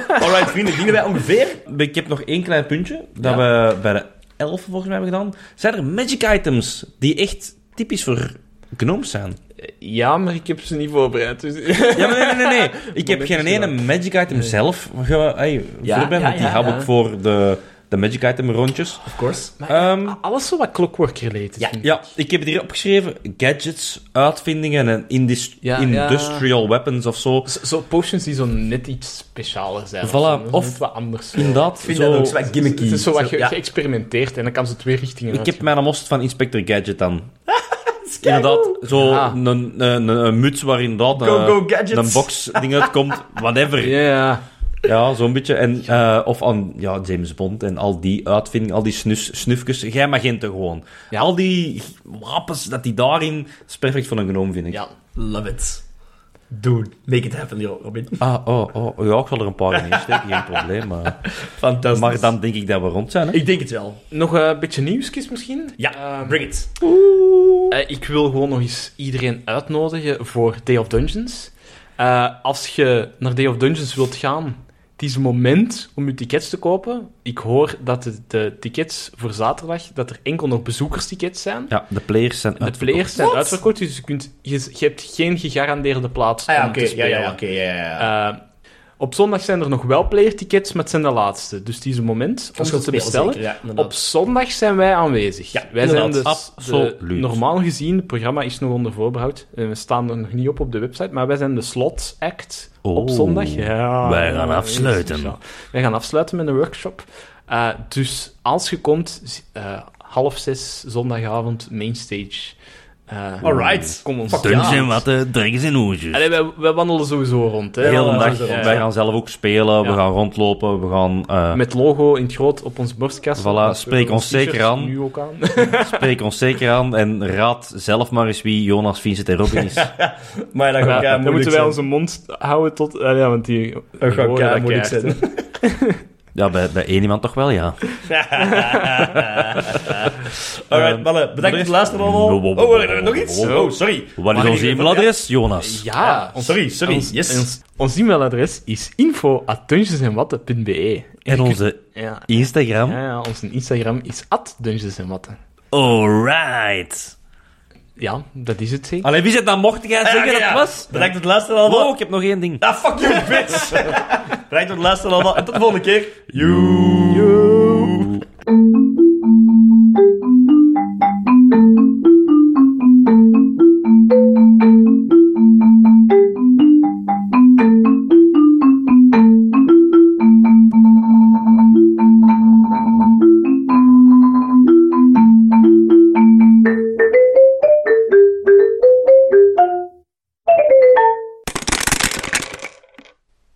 Alright, vrienden. Dienen wij ongeveer Ik heb nog één klein puntje. Dat we bij de elf volgens mij hebben gedaan. Zijn er magic items die echt typisch voor gnomes zijn? Ja, maar ik heb ze niet voorbereid. Dus... Ja, maar nee, nee, nee. nee. Ik heb Momentjes geen ene gedaan. magic item zelf ge, hey, Ja, voorbereid, ja, want die ja, heb ja. ik voor de, de magic item rondjes. Of course. Maar Ehm. alles zo wat clockwork-related. Ja. vind ik. Ja, ik heb het hier opgeschreven. Gadgets, uitvindingen en indus- Ja, ja. industrial weapons of zo. Zo, zo potions die zo net iets specialer zijn. Voilà, zo, net of- wat anders. zo. Inderdaad, vind zo... dat ook zo wat gimmicky. Het is zo wat ge- Ja. geëxperimenteerd en dan kan ze twee richtingen Ik heb uitgaan. mijn most van Inspector Gadget dan. keigoed. Inderdaad, zo Ah. een, een, een, een muts waar inderdaad Go, eh, go, gadgets. een box ding uitkomt, whatever. Ja, ja. Ja, zo'n beetje. En, eh, of aan ja, James Bond en al die uitvindingen, al die snus, snufjes. Jij magenten gewoon. Ja. Al die wapens dat die daarin, is perfect voor een genoom, vind ik. ja. Love it. Dude, make it happen, joh, Robin. Ah, oh, oh, ja, ik zal er een paar in steken, geen probleem. Maar, Fantastisch. maar dan denk ik dat we rond zijn, hè. Ik denk het wel. Nog eh, een beetje nieuwsjes misschien? Ja, Ehm, bring it. eh, ik wil gewoon nog eens iedereen uitnodigen voor Day of Dungeons. Eh, als je naar Day of Dungeons wilt gaan, het is een moment om je tickets te kopen. Ik hoor dat de, de tickets voor zaterdag, dat er enkel nog bezoekerstickets zijn. Ja, de players zijn De uitverkocht. players zijn Wat? uitverkocht, dus je, kunt, je, je hebt geen gegarandeerde plaats Ah ja, om oké. te Ja, spelen. ja, ja, oké, ja, ja, ja. Eh, op zondag zijn er nog wel playertickets, maar het zijn de laatste. Dus het is een moment om Als je wilt ze te spelen, bestellen. zeker, ja, inderdaad. Op zondag zijn wij aanwezig. Ja, wij zijn dus inderdaad. De, Absoluut. normaal gezien, het programma is nog onder voorbehoud. Eh, We staan er nog niet op op de website, maar wij zijn de slot act op Oh, zondag. Ja, wij gaan ja, afsluiten. ja. Wij gaan afsluiten met een workshop. Eh, dus als je komt, z- eh, half zes zondagavond, mainstage. Eh, Alright. Kom ons Dungeons ja. en watten, drinken en hoesjes. Allee, wij, wij wandelen sowieso rond. Hè. De hele Ja, dag. ja, ja. Wij gaan zelf ook spelen, Ja. we gaan rondlopen, we gaan... eh, Met logo in het groot op ons borstkast. Voilà, Want spreek we ons t-shirts zeker aan. Nu ook aan. Spreek ons zeker aan en raad zelf maar eens wie Jonas, Vincent en Robin is. Maar dat gaat ja, Ja, dan moeten moeilijk wij zijn. onze mond houden tot... ah ja, want die... Dat gaat horen kei dat moeilijk keihard, zijn. Ja, bij, bij één iemand toch wel, ja. Ehm, Alright, mannen. Bedankt voor het luisteren allemaal. Wow, wow, wow, Oh, wacht, nog wow, iets? wow, Oh, sorry. Wat is Mag ons ik- e-mailadres, Jonas? hè. Ja, Ja. ons- sorry, sorry. ons- yes. Ons, ons e-mailadres is info En onze Ja. Instagram? Ja, ja, onze Instagram is at Alright. Ja, dat is het zeker. Allee, wie zit dan mocht jij Ah, ja, zeggen oké, dat het ja. was? Bedankt voor het luisteren allemaal. Wow, ik heb nog één ding. Ah, fuck you, bitch. Bedankt voor het luisteren allemaal. En tot de volgende keer. Joe.